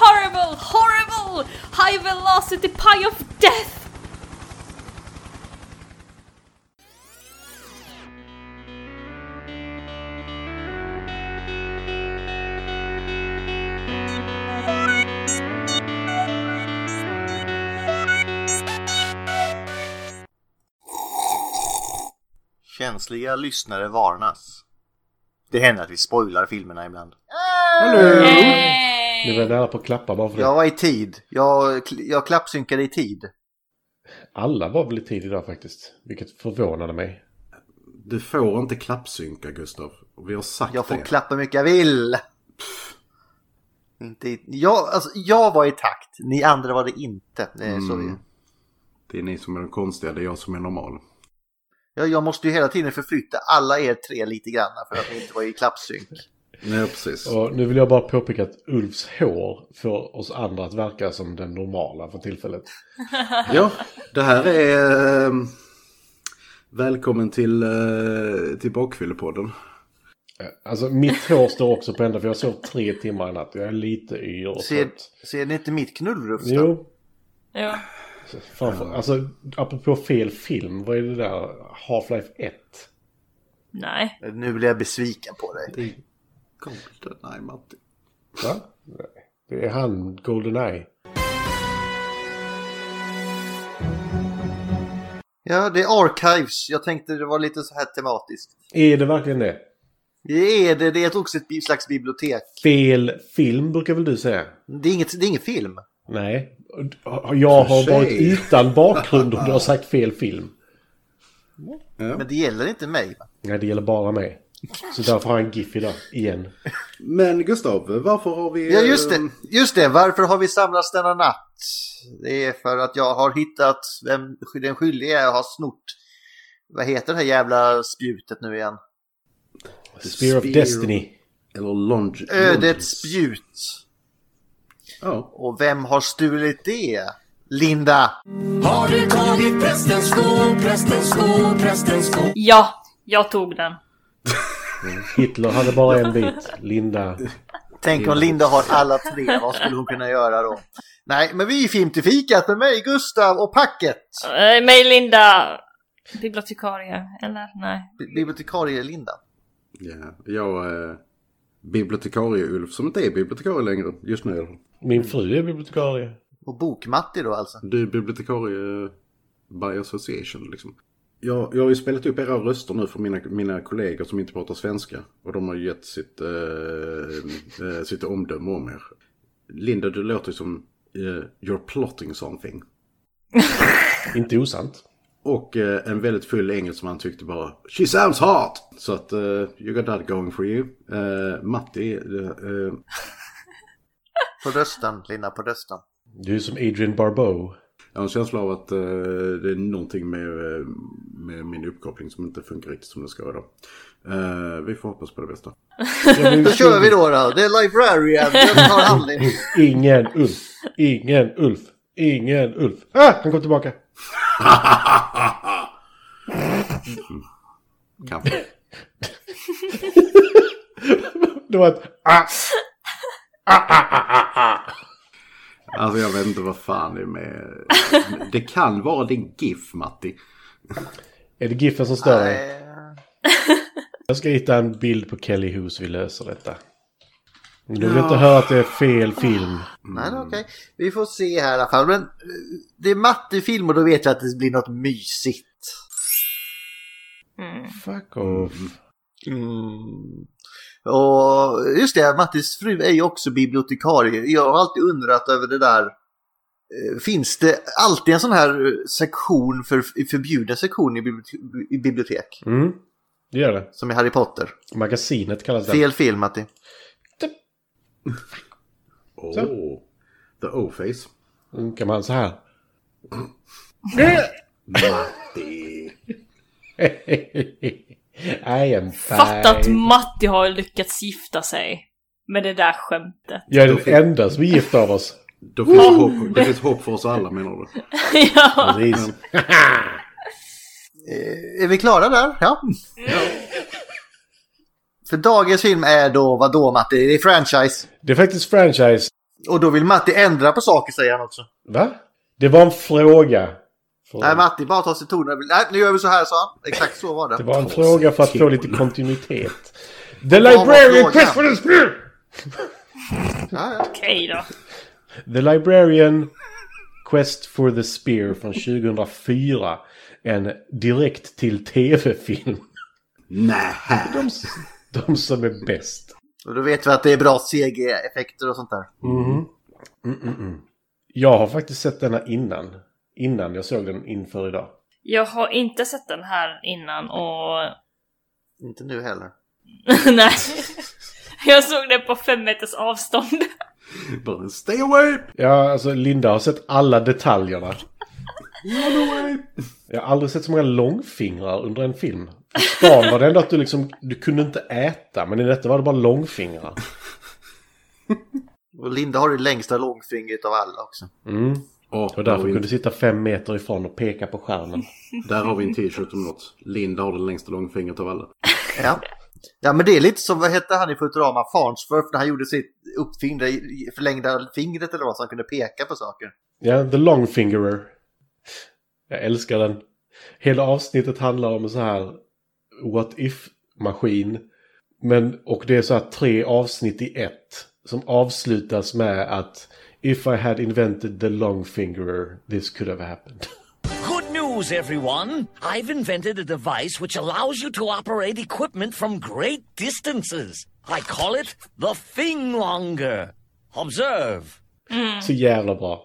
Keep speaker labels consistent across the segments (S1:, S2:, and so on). S1: wild, horrible, high velocity pie of death!
S2: Känsliga lyssnare varnas. Det händer att vi spoilar filmerna ibland.
S3: Nu var jag nära på att klappa bara för det.
S2: Jag var i tid. Jag, jag klappsynkade i tid.
S3: Alla var väl i tid idag faktiskt. Vilket förvånade mig.
S4: Du får inte klappsynka Gustav. Vi har sagt
S2: Jag får
S4: det.
S2: klappa hur mycket jag vill. Inte i, jag, alltså, jag var i takt, ni andra var det inte. Det är så vi.
S4: det är ni som är de konstiga, det är jag som är normal.
S2: Jag, jag måste ju hela tiden förflytta alla er tre lite grann för att ni inte var i klappsynk.
S4: Nej, precis.
S3: Och nu vill jag bara påpeka att Ulfs hår får oss andra att verka som den normala för tillfället.
S4: Ja, det här är... eh, Välkommen till, eh, till Bakfyllepodden.
S3: Eh, Alltså mitt hår står också på ända för jag sov tre timmar i natt. Jag är lite yr och
S2: Ser,
S3: trött.
S2: ser ni inte mitt knullrufs då?
S3: Jo,
S1: Ja.
S3: framför, alltså apropå fel film, vad är det där? Half-Life 1?
S1: Nej.
S2: Nu blir jag besviken på dig.
S4: Golden, nej Matti.
S3: Va? Nej. Det är han, Goldeneye.
S2: Ja, det är Archives. Jag tänkte det var lite så här tematiskt.
S3: Är det verkligen det?
S2: Det är det. Det är också ett bi- slags bibliotek.
S3: Fel film brukar väl du säga?
S2: Det är, inget, det är ingen film.
S3: Nej. Jag har
S4: För sig.
S3: varit utan bakgrund och du har sagt fel film.
S4: Ja.
S2: Men det gäller inte mig. va?
S3: Nej, det gäller bara mig. Så därför har jag en GIF idag, igen.
S4: Men Gustav, varför har vi...
S2: Ja, just
S4: eh,
S2: det. Just det. Varför har vi samlats denna natt? Det är för att jag har hittat vem den skyldige är och har snott. Vad heter det här jävla spjutet nu igen?
S3: Spear of
S4: Spear.
S3: Destiny.
S4: Eller
S2: Eh,
S4: Longe...
S2: Ödets spjut.
S4: Ja.
S2: Och vem har stulit det? Linda!
S5: Har du tagit prästens sko, prästens sko, prästens sko?
S1: Ja, jag tog den.
S3: Hitler hade bara en bit. Linda.
S2: Tänk om Linda har alla tre, vad skulle hon kunna göra då? Nej, men vi är film till fikat med mig, Gustav och Packet!
S1: Äh, mig Linda! Bibliotekarie, eller? Nej.
S2: Bi- Bibliotekarie Linda.
S4: ja. Jag är bibliotekarie-Ulf som inte är bibliotekarie längre just nu. i alla fall.
S3: Min fru är bibliotekarie.
S2: Och Bokmatti då alltså.
S4: Du är bibliotekarie by association liksom. Jag, jag har ju spelat upp era röster nu för mina, mina kollegor som inte pratar svenska. Och de har ju gett sitt, eh, eh, sitt omdöme om er. Linda, du låter ju som eh, you're plotting something.
S3: Inte osant.
S4: Och eh, en väldigt full engelsman tyckte bara She sounds hot! Så att eh, you got that going for you. Eh, Matti, eh, eh,
S2: På rösten, Linda, på rösten.
S3: Du är som Adrian Barbeau.
S4: jag har en känsla av att eh, det är någonting med, eh, med min uppkoppling som inte funkar riktigt som det ska idag. Eh, vi får hoppas på det bästa.
S2: Då kör vi då då! Det är Librarian, jag tar handling.
S3: Ingen Ulf. Ingen Ulf. Ingen Ulf. Ah, han kom tillbaka.
S4: Kanske.
S3: Det var ett ah.
S4: Alltså jag vet inte vad fan det är med... Det kan vara din GIF Matti.
S3: Är det Giffen som stör dig?
S2: Nej.
S3: Jag ska hitta en bild på Kelly Hughes. Vi löser detta. Du vill inte höra att det är fel film.
S2: Nej, det är okej. Vi får se här i alla fall. Men eh, det är mattefilm och då vet jag att det blir något mysigt.
S3: Ah, Fuck off.
S2: Och just det, Mattis fru är ju också bibliotekarie. Jag har alltid undrat över det där. Eh, Finns det alltid en sån här eh, sektion, för, förbjuden sektion i, bibliot- i bibliotek?
S3: Mm. Det gör det.
S2: Som i Harry Potter.
S3: Magasinet kallas det.
S2: Fel film, Matti.
S4: Oh. The O-face.
S3: Mm, Kan man så här.
S4: Matti.
S3: I am
S1: Fatta att
S3: fine.
S1: Matti har lyckats gifta sig med det där skämtet.
S3: Jag är den enda som är gift av oss.
S4: Då finns det hopp, det finns hopp för oss alla menar du?
S1: ja.
S3: Precis.
S2: Eh, Är vi klara där? Ja. För dagens film är då, vad då Matti? Det är franchise.
S3: Det är faktiskt franchise.
S2: Och då vill Matti ändra på saker säger han också.
S3: Va? Det var en fråga. För-
S2: Nej, Matti bara tar sig tonen. Nej, nu gör vi så här sa han. Exakt så var
S3: det
S2: det.
S3: var en
S4: Ta
S3: fråga
S4: sig
S3: för att få
S4: ton.
S3: lite kontinuitet. The
S2: var
S3: librarian
S2: frågan?
S3: quest for the spirit!
S2: Ja, ja.
S1: Okej då.
S3: The Librarian Quest for the Spear från 2004. En direkt till tv-film.
S4: Nähä.
S3: De, s- de som är bäst.
S2: Och då vet vi att det är bra CG-effekter och sånt där.
S3: Mm, mm, mm. Jag har faktiskt sett denna innan. Innan jag såg den inför idag.
S1: Jag har inte sett den här innan och...
S2: Inte nu heller.
S1: Nej. Jag såg den på fem meters avstånd.
S4: Bara, Stay away!
S3: Ja, alltså Linda har sett alla detaljerna.
S4: Run away!
S3: Jag har aldrig sett så många långfingrar under en film. Ett Barn var det ändå att du liksom, du kunde inte äta, men i detta var det bara långfingrar.
S2: Och Linda har det längsta långfingret av alla också.
S3: Mm.
S4: Ja,
S3: Och
S4: där, har
S3: därför
S4: vi
S3: kunde du
S4: en,
S3: sitta fem meter ifrån och peka på skärmen.
S4: där har vi en t-shirt om något. Linda har det längsta långfingret av alla.
S2: Ja. ja, men det är lite som, vad hette han i Futurama, Farnsworth, när han gjorde sitt uppfingrar, förlängda fingret eller vad, så han kunde peka på saker.
S3: Ja, The Longfingerer. Jag älskar den. Hela avsnittet handlar om en så här what if-maskin. Men, och det är så här tre avsnitt i ett. Som avslutas med att If I had invented the Longfingerer, this could have happened.
S6: Good news, everyone! I've invented a device which allows you to operate equipment from great distances. I call it the Thing Longer. Observe.
S3: Så jävla bra.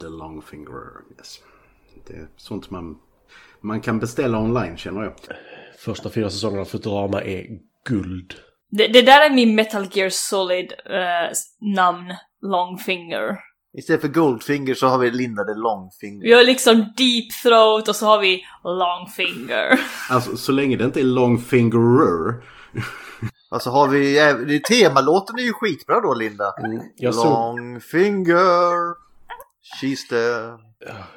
S4: The longfingerer, yes. Det är sånt man, man kan beställa online känner jag.
S3: Första fyra säsongerna av Futurama är guld.
S1: Det, det där är min Metal Gear Solid eh, s- namn, Longfinger.
S2: Istället för Goldfinger så har vi Linda det Longfinger.
S1: Vi har liksom Deep Throat och så har vi Longfinger.
S4: Alltså så länge det inte är eh, longfingerer.
S2: Alltså har vi, eh, det- temalåten är ju skitbra då Linda.
S3: Jag såg,
S2: Longfinger, she's there.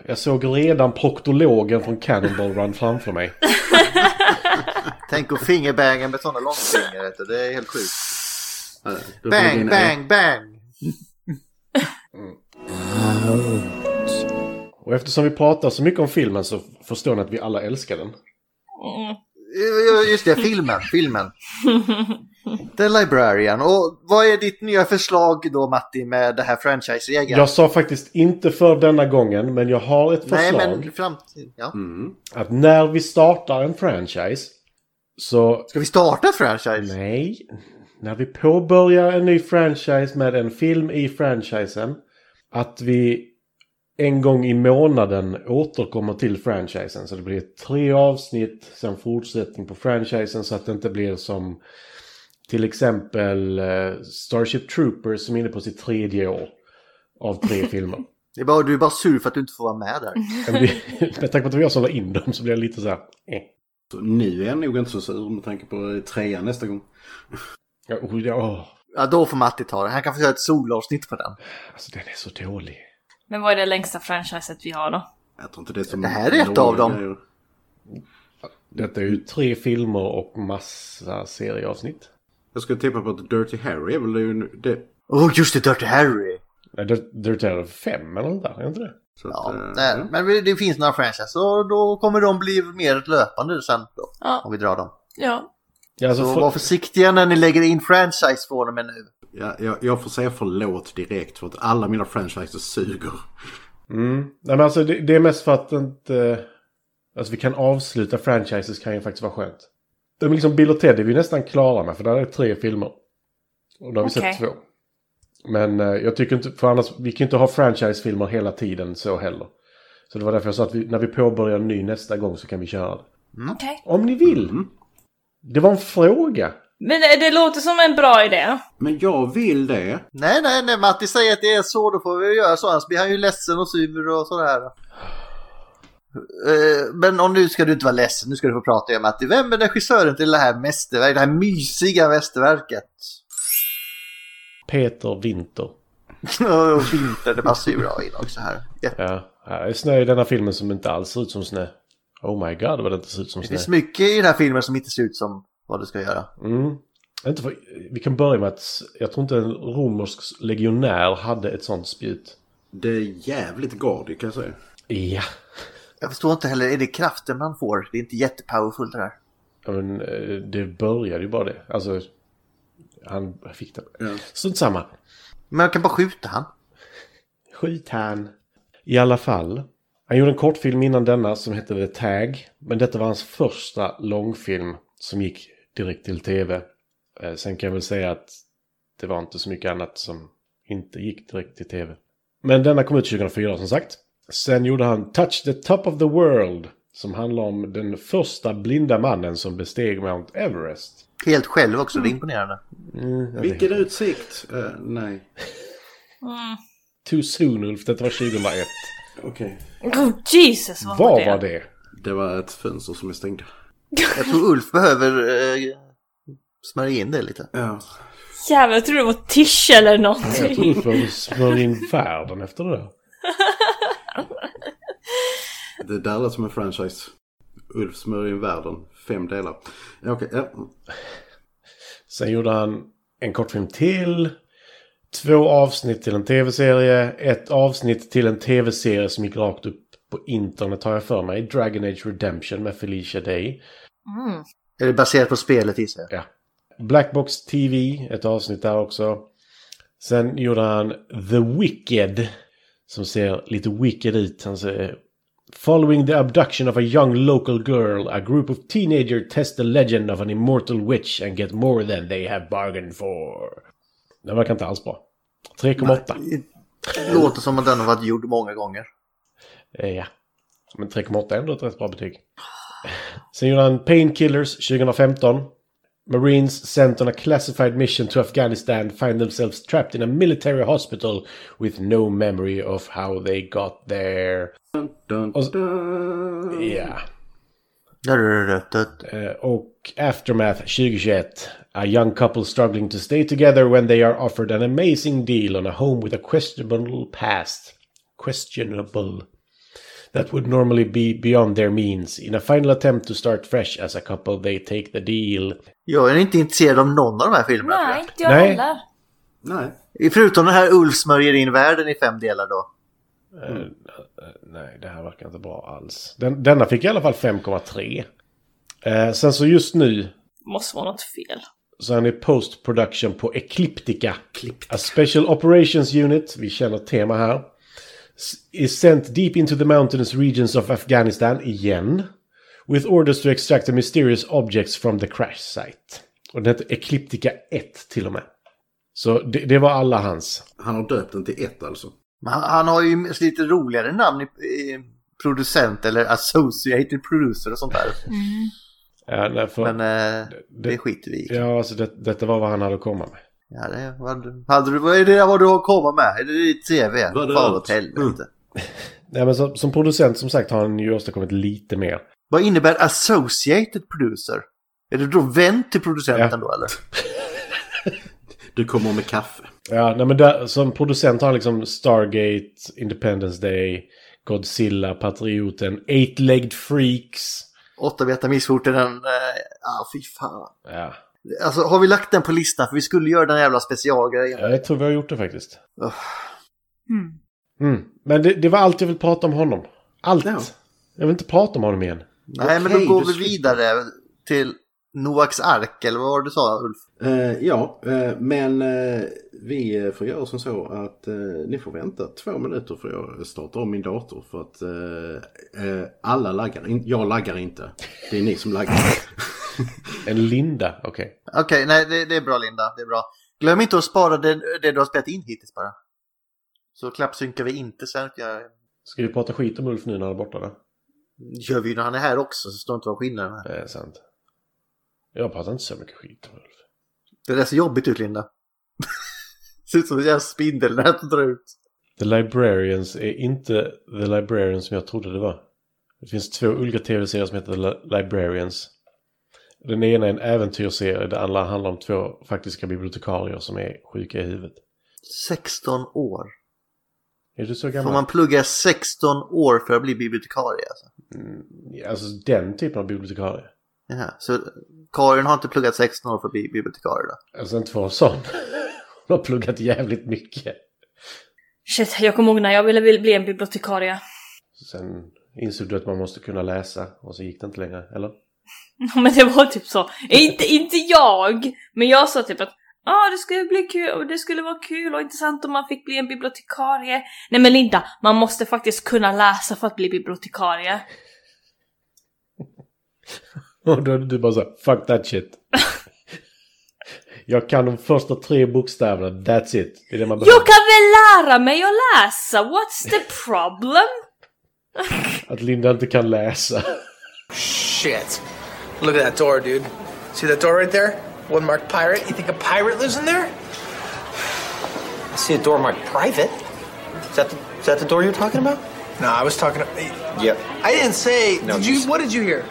S3: jag såg redan proktologen från Cannonball Run framför mig.
S2: Tänk att fingerbanga med sådana långfingrar, vet du. det är helt sjukt.
S4: Äh, då får vi
S2: Bang,
S4: in-
S2: bang, bang!
S3: Och eftersom vi pratar så mycket om filmen så förstår ni att vi alla älskar den.
S1: Mm.
S2: Eh, Just det, filmen, filmen. The Librarian. Och vad är ditt nya förslag då Matti med det här franchise-regeln?
S3: Jag sa faktiskt inte för denna gången, men jag har ett
S2: Nej,
S3: förslag.
S2: men framtid. Ja.
S4: Mm.
S3: Att när vi startar en franchise så...
S2: Ska vi starta franchise?
S3: Nej. När vi påbörjar en ny franchise med en film i franchisen. Att vi en gång i månaden återkommer till franchisen. Så det blir tre avsnitt, sen fortsättning på franchisen så att det inte blir som till exempel eh, Starship Troopers som är inne på sitt tredje år av tre filmer.
S2: Det är bara, du är bara sur för att du inte får vara med där.
S3: Ja, men det- Med tanke på att det var jag som la in dem så blev jag lite så här... Eh.
S4: Så nu är jag nog inte så sur med tanke på eh, trean nästa gång.
S3: Ja, oh, ja, åh.
S2: Ja, då får Matti ta det. Han kan få göra ett solavsnitt på den.
S3: Alltså den är så dålig.
S1: Men vad är det längsta franchiset vi har då?
S4: Jag tror inte det är så
S2: Det här är ett av dem.
S4: grejer.
S3: Detta är ju tre filmer och massa serieavsnitt.
S4: Jag skulle tippa på att Dirty Harry är väl det- det.
S2: Åh, oh, just det, Dirty Harry!
S3: Nej, Dirt Dirt är fem eller något där, är det inte det?
S4: Så
S2: Ja,
S4: att, eh,
S2: nej, men vi- det finns några franchises och då kommer de bli mer löpande sen då,
S1: Ja,
S2: om vi drar dem.
S1: ja.
S3: Ja, alltså,
S2: Så
S3: för-
S2: var försiktiga när ni lägger in franchise från och med nu.
S4: ja, jag, jag får säga förlåt direkt för att alla mina franchises suger.
S3: mm. Nej, men alltså det, det är mest för att inte... Alltså vi kan avsluta franchises kan ju faktiskt vara skönt. Det är liksom Bill och Ted är vi nästan klara med för där är tre filmer. Och då har vi
S1: Okej.
S3: sett två. Men eh, jag tycker inte, för annars, vi kan ju inte ha franchisefilmer hela tiden så heller. Så det var därför jag sa att vi, när vi påbörjar en ny nästa gång så kan vi köra det. Mm.
S1: okej.
S3: Om ni vill. Det var en fråga.
S1: Men det, det låter som en bra idé.
S4: Men jag vill det.
S2: Nej, nej, nej, Matti säger att det är så, då får vi göra så. Annars blir han ju ledsen och sur och sådär. Eh, Men om nu ska du inte vara ledsen, nu ska du få prata igen Matti. Vem är regissören till det här mästerverket, det här mysiga mästerverket?
S3: Peter Winter.
S2: Och Vinter, det passar ju bra in också här. Ja,
S3: Ja, här är snö i denna filmen som inte alls ser ut som snö. Oh my god vad det inte ser ut som
S2: Det
S3: snö.
S2: finns mycket i den här filmen som inte ser ut som vad det ska göra.
S3: Mm. Inte för, vi kan börja med att jag tror inte en romersk legionär hade ett sånt spjut.
S4: Det är jävligt gardigt kan jag säga.
S3: Ja.
S2: Jag förstår inte heller, är det kraften man får? Det är inte jättepowerful det där.
S3: Ja, Men eh, det började ju bara det. Alltså, han fick det.
S4: Ja.
S3: Strunt samma.
S2: Men jag kan bara skjuta han.
S3: Skit han. I alla fall. Han gjorde en kortfilm innan denna som hette The Tag. Men detta var hans första långfilm som gick direkt till tv. Eh, Sen kan jag väl säga att det var inte så mycket annat som inte gick direkt till tv. Men denna kom ut 2004 som sagt. Sen gjorde han Touch the Top of the World. Som handlar om den första blinda mannen som besteg Mount Everest.
S2: Helt själv också, det är imponerande.
S3: Mm, jag vet.
S4: Vilken utsikt! Eh, nej.
S3: Too soon Ulf, detta var 2001.
S4: Okej.
S1: Oh, Jesus, vad,
S3: Vad var det?
S4: Det var ett fönster som är stängt.
S2: Jag tror Ulf behöver eh, smörja in det lite.
S4: Ja.
S1: Jävlar, jag trodde det var Tish eller
S3: Jag
S1: någonting.
S3: tror Ulf behöver smörja in världen efter det där.
S4: Det där lät som en franchise. Ulf smörjer in världen. Fem delar. Ja, Okej, ja.
S3: Sen gjorde han en kortfilm till. Två avsnitt till en tv-serie. Ett avsnitt till en tv-serie som gick rakt upp på internet har jag för mig. Dragon Age Redemption med Felicia Day.
S2: Är det baserat på spelet gissar jag?
S3: Ja. Blackbox TV, ett avsnitt där också. Sen gjorde han The Wicked. Som ser lite wicked ut. Han säger Following the abduction of a young local girl, a group of teenagers test the legend of an immortal witch and get more than they have bargained for. Den verkar inte alls bra. 3,8.
S2: Det låter som att den har varit gjord många gånger.
S3: Eh, Ja. Men 3,8 är ändå ett rätt bra betyg. Sen gjorde han Painkillers 2015. Marines sent on a classified mission to Afghanistan find themselves trapped in a military hospital with no memory of how they got there.
S4: Dun,
S3: Och-
S4: dun.
S3: Ja.
S2: Drrrrrrrrrrrrrrrrrrrrrrrrrrrr.
S3: Eh, och Aftermath 2021. A young couple struggling to stay together when they are offered an amazing deal on a home with a questionable past. Questionable. That would normally be beyond their means. In a final attempt to start fresh as a couple they take the deal.
S2: Jag är inte intresserad av någon av de här filmerna. tror
S1: Nej,
S2: jag.
S1: inte jag
S3: Nej.
S1: heller.
S4: Nej.
S2: Förutom den här Ulf smörjer in världen i fem delar då.
S3: Nej, det här verkar inte bra alls. Den, denna fick i alla fall 5,3. Eh, sen så just nu
S1: Måste vara något fel.
S3: så är han i post production på Ecliptica. A Special Operations Unit, vi känner tema här, s- is sent deep into the mountainous regions of Afghanistan igen. With orders to extract the mysterious objects from the crash site. Och den heter Ecliptica 1 till och med. Så det, det var alla hans.
S4: Han har döpt den till ett alltså.
S2: Men han, han har ju lite roligare namn i, i producent eller associated producer och sånt där.
S3: Ja, nej, för,
S2: Men eh,
S3: det-
S2: det skiter vi i.
S3: ja alltså det, detta var vad han hade att komomma med.
S2: Ja, det, vad, hade du, vad är det vad du har att komma med? Är det ditt CV?
S4: Vad är
S2: Fan
S4: allt?
S2: åt helvete.
S3: Nej, men som, som producent som sagt har han ju åstadkommit lite mer.
S2: Vad innebär associated producer? Är det då vän till producenten
S3: Ja.
S2: då eller?
S4: Du kommer med kaffe.
S3: Ja, nej, men där, som producent har han liksom Stargate, Independence Day, Godzilla, Patrioten, Eight-Legged Freaks.
S2: Åtta beta missfoten, den... eh, ah, fy fan.
S3: Ja,
S2: Alltså har vi lagt den på listan? För vi skulle göra den här jävla specialgrejen.
S3: jag tror vi har gjort det faktiskt.
S2: Uff.
S1: Mm.
S3: Mm. Men det, det var allt jag ville prata om honom. Allt!
S4: Ja.
S3: Jag vill inte prata om honom igen.
S2: Nej, men
S4: Okej,
S2: då går
S4: du
S2: vi
S4: slipper.
S2: vidare till Noaks ark, eller vad var det du sa Ulf?
S4: Eh, ja, eh, men eh, vi eh, får göra som så att eh, ni får vänta två minuter för jag startar om min dator för att eh, eh, alla laggar. In- jag laggar inte. Det är ni som laggar.
S3: En Linda, okej.
S2: Okej, nej det, det är bra Linda, det är bra. Glöm inte att spara det, det du har spelat in hittills bara. Så klappsynkar vi inte sen. Jag,
S3: Ska vi prata skit om Ulf nu när han är borta då?
S2: gör vi ju när han är här också, så står inte vad skillnaden är.
S3: Det är Eh, sant. Jag pratar inte så mycket skit om Ulf.
S2: Det där ser jobbigt ut Linda. ser ut som en jävla spindelnät som drar ut.
S3: The Librarians är inte The Librarians som jag trodde det var. Det finns två olika tv-serier som heter The Li- Librarians. Den ena är en äventyrsserie, den andra handlar om två faktiska bibliotekarier som är sjuka i huvudet.
S2: 16 år.
S3: Är du så
S2: Får
S3: gammal?
S2: man plugga 16 år för att bli bibliotekarie alltså?
S3: Alltså den typen av bibliotekarie.
S7: Ja, så Karin har inte pluggat 16 år för att bli bibliotekarie då?
S3: Alltså inte för en sån. Hon har pluggat jävligt mycket.
S1: Shit, jag kommer ihåg när jag ville vill bli en bibliotekarie.
S3: Sen insåg du att man måste kunna läsa och så gick det inte längre, eller?
S1: Men det var typ så. Inte, inte jag! Men jag sa typ att ah, det skulle bli kul, det skulle vara kul och intressant om man fick bli en bibliotekarie. Nej men Linda, man måste faktiskt kunna läsa för att bli bibliotekarie.
S3: Och då är du bara så här, fuck that shit. Jag kan de första tre bokstäverna, that's it. Det är det man behöver.
S1: Jag kan väl lära mig att läsa, what's the problem?
S3: Att Linda inte kan läsa.
S8: Shit. Look at that door, dude. See that door right there? One marked pirate. You think a pirate lives in there?
S9: I see a door marked private. Is that the, is that the door you're talking about?
S8: No, I was talking. To,
S9: Yep.
S8: I didn't say.
S9: No,
S8: did
S9: you
S8: you?
S9: s-
S8: What did you hear?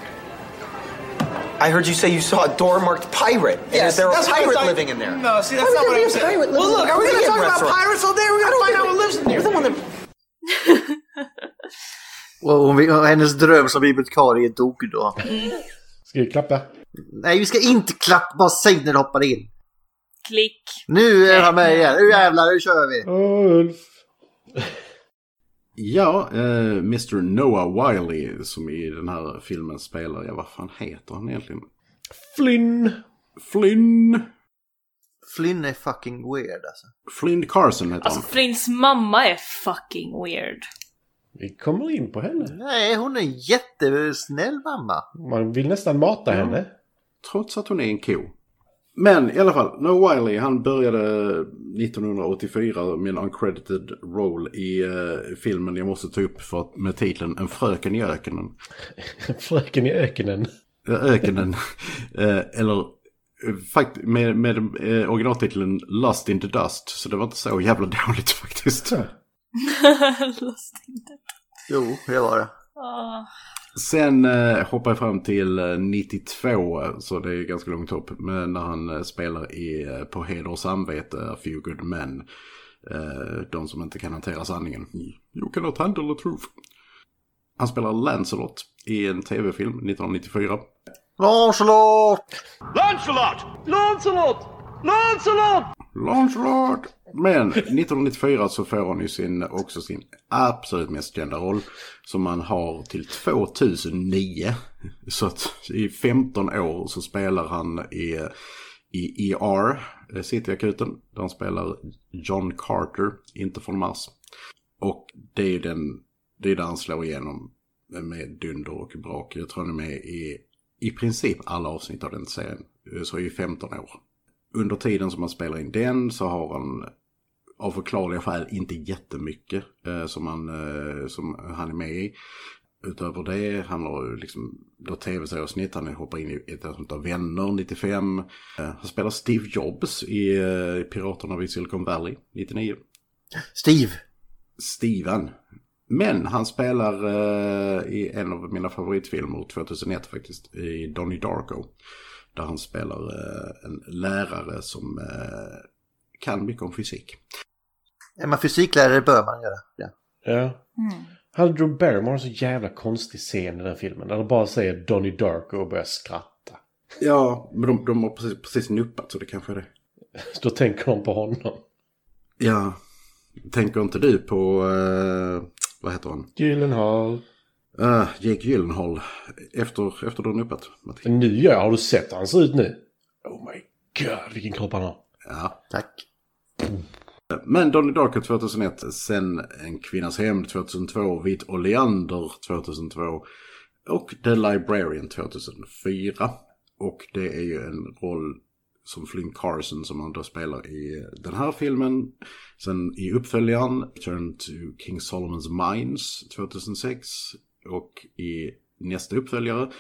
S9: I heard you say you saw a door marked pirate. And is there a
S8: that's what I
S9: pirate
S8: thought-
S9: living in there?
S8: No, see, that's
S9: Why would
S8: not
S9: there be a pirate
S8: what I'm saying. well,
S9: living
S8: look,
S9: in
S8: are we
S9: a
S8: gonna
S9: vegan
S8: talk about
S9: restaurant?
S8: pirates all day? We're gonna find out what lives in
S9: You're the
S8: there.
S9: one that
S7: Och hon, vill- och hennes dröm som bibliotekarie dog då.
S3: Ska vi klappa?
S7: Nej, vi ska inte klappa, bara säg när du hoppar in.
S1: Klick.
S7: Nu är han med igen, nu jävlar, nu kör vi!
S3: Åh, Ulf.
S4: Ja, eh, Mr Noah Wiley som i den här filmen spelar, ja vad fan heter han egentligen?
S3: Flynn.
S4: Flynn!
S7: Flynn är fucking weird alltså.
S4: Flynn Carson heter
S1: Alltså
S4: han.
S1: Flins mamma är fucking weird.
S3: Vi kommer in på henne.
S7: Nej, hon är en jättesnäll mamma.
S3: Man vill nästan mata henne.
S4: Trots att hon är en ko. Men i alla fall, Noah Wiley han började 1984 med en uncredited roll i eh, filmen jag måste ta upp för, att- med titeln En fröken i öknen.
S3: Fröken i öknen.
S4: Eh, öknen. Eh, Eller eh, fakt med, med eh, originaltiteln Lust in the Dust. Så det var inte så jävla dåligt faktiskt.
S1: Lustigt.
S7: Jo, det var det.
S1: Ah.
S4: Sen eh, hoppar jag fram till eh, 92, så det är ju ganska långt upp. Men när han eh, spelar i, eh, på Heder och Samvete, A Few Good Men. Eh, de som inte kan hantera sanningen. You cannot handle the truth. Han spelar Lancelot i en tv-film 1994.
S7: Lancelot!
S4: Lancelot! Men 1994 så får han ju sin, också sin absolut mest kända roll som han har till 2009. Så att i 15 år så spelar han i, i ER, eh, Cityakuten, där han spelar John Carter, inte från Mars. Och det är ju den, det är där han slår igenom med dunder och brak. Jag tror han är med i i princip alla avsnitt av den serien. eh, Så i 15 år under tiden som han spelar in den så har han av förklarliga skäl inte jättemycket eh, som, han, eh, som han är med i. Utöver det, han har ju liksom då tv-serieavsnitt, han hoppar in i ett avsnitt av Vänner 95. Eh, han spelar Steve Jobs i eh, Piraterna vid Silicon Valley 99.
S7: Steve!
S4: Steven. Men han spelar eh, i en av mina favoritfilmer 2001 faktiskt, i Donnie Darko. Där han spelar eh, en lärare som eh, kan mycket om fysik.
S7: Är man fysiklärare bör man göra det.
S3: Ja. Han och Drew Barrymore har en så jävla konstig scen i den filmen. Där de bara säger Donnie Darko och börjar skratta.
S4: Ja, men de, de har precis, precis nuppat så det kanske är det.
S3: Så Då tänker de på honom.
S4: Ja, tänker inte du på, eh, vad heter han?
S3: Gyllenhaal.
S4: Uh, Jake Gyllenhaal. Efter, efter du har nuppat, Matti.
S3: Nu ja, har du sett hur han ser ut nu? Oh my god, vilken kropp han har.
S4: Ja.
S7: Tack.
S4: Men Donnie Darko 2001, sen En kvinnas hämnd 2002, Vit Oleander 2002 och The Librarian 2004. Och det är ju en roll som Flynn Carson som han då spelar i den här filmen. Sen i uppföljaren, Turn to King Solomon's Mines 2006 och i nästa uppföljare,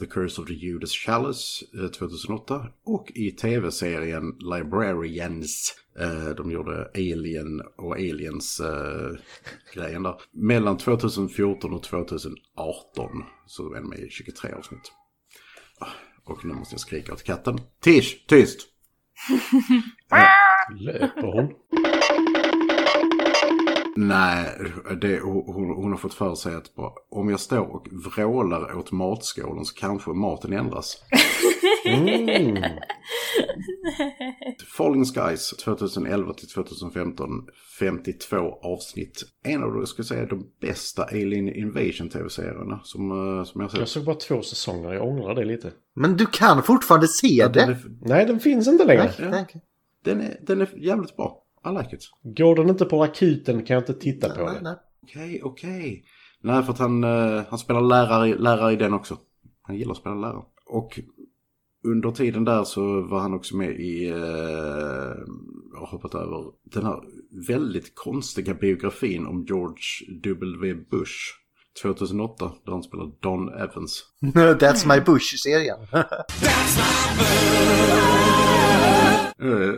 S4: The Curse of the Judas Chalice eh, 2008 och i tv-serien Librarians. Eh, De gjorde Alien och Aliens-grejen där. Mellan 2014 och 2018 så är de med i 23 avsnitt. Ah, Och nu måste jag skrika åt katten. Tish, tyst!
S3: Löper hon?
S4: Nej, det, hon, hon har fått för sig att bara, om jag står och vrålar åt matskålen så kanske maten ändras.
S3: Mm.
S4: Falling Skies 2011 till 2015, 52 avsnitt. En av de, jag skulle säga, de bästa Alien Invasion tv-serierna som, eh, som jag har
S3: Jag
S4: sett.
S3: såg bara två säsonger, jag ångrar det lite.
S2: Men du kan fortfarande se
S4: Den
S2: det.
S4: är,
S3: Nej, den finns inte längre.
S2: Nej, okej.
S4: den, är, den är jävligt bra. I like it.
S3: Går den inte på akuten kan jag inte titta på
S2: Nej,
S3: det.
S2: nej.
S4: Okej, okej. Nej, för att han, eh, han spelar lärare, i- lärare i den också. Han gillar att spela lärare. Och under tiden där så var han också med i, eh, jag har hoppat över, den här väldigt konstiga biografin om George W. Bush. 2008, där han spelar Don Evans.
S2: That's my Bush-serien.
S4: Eh,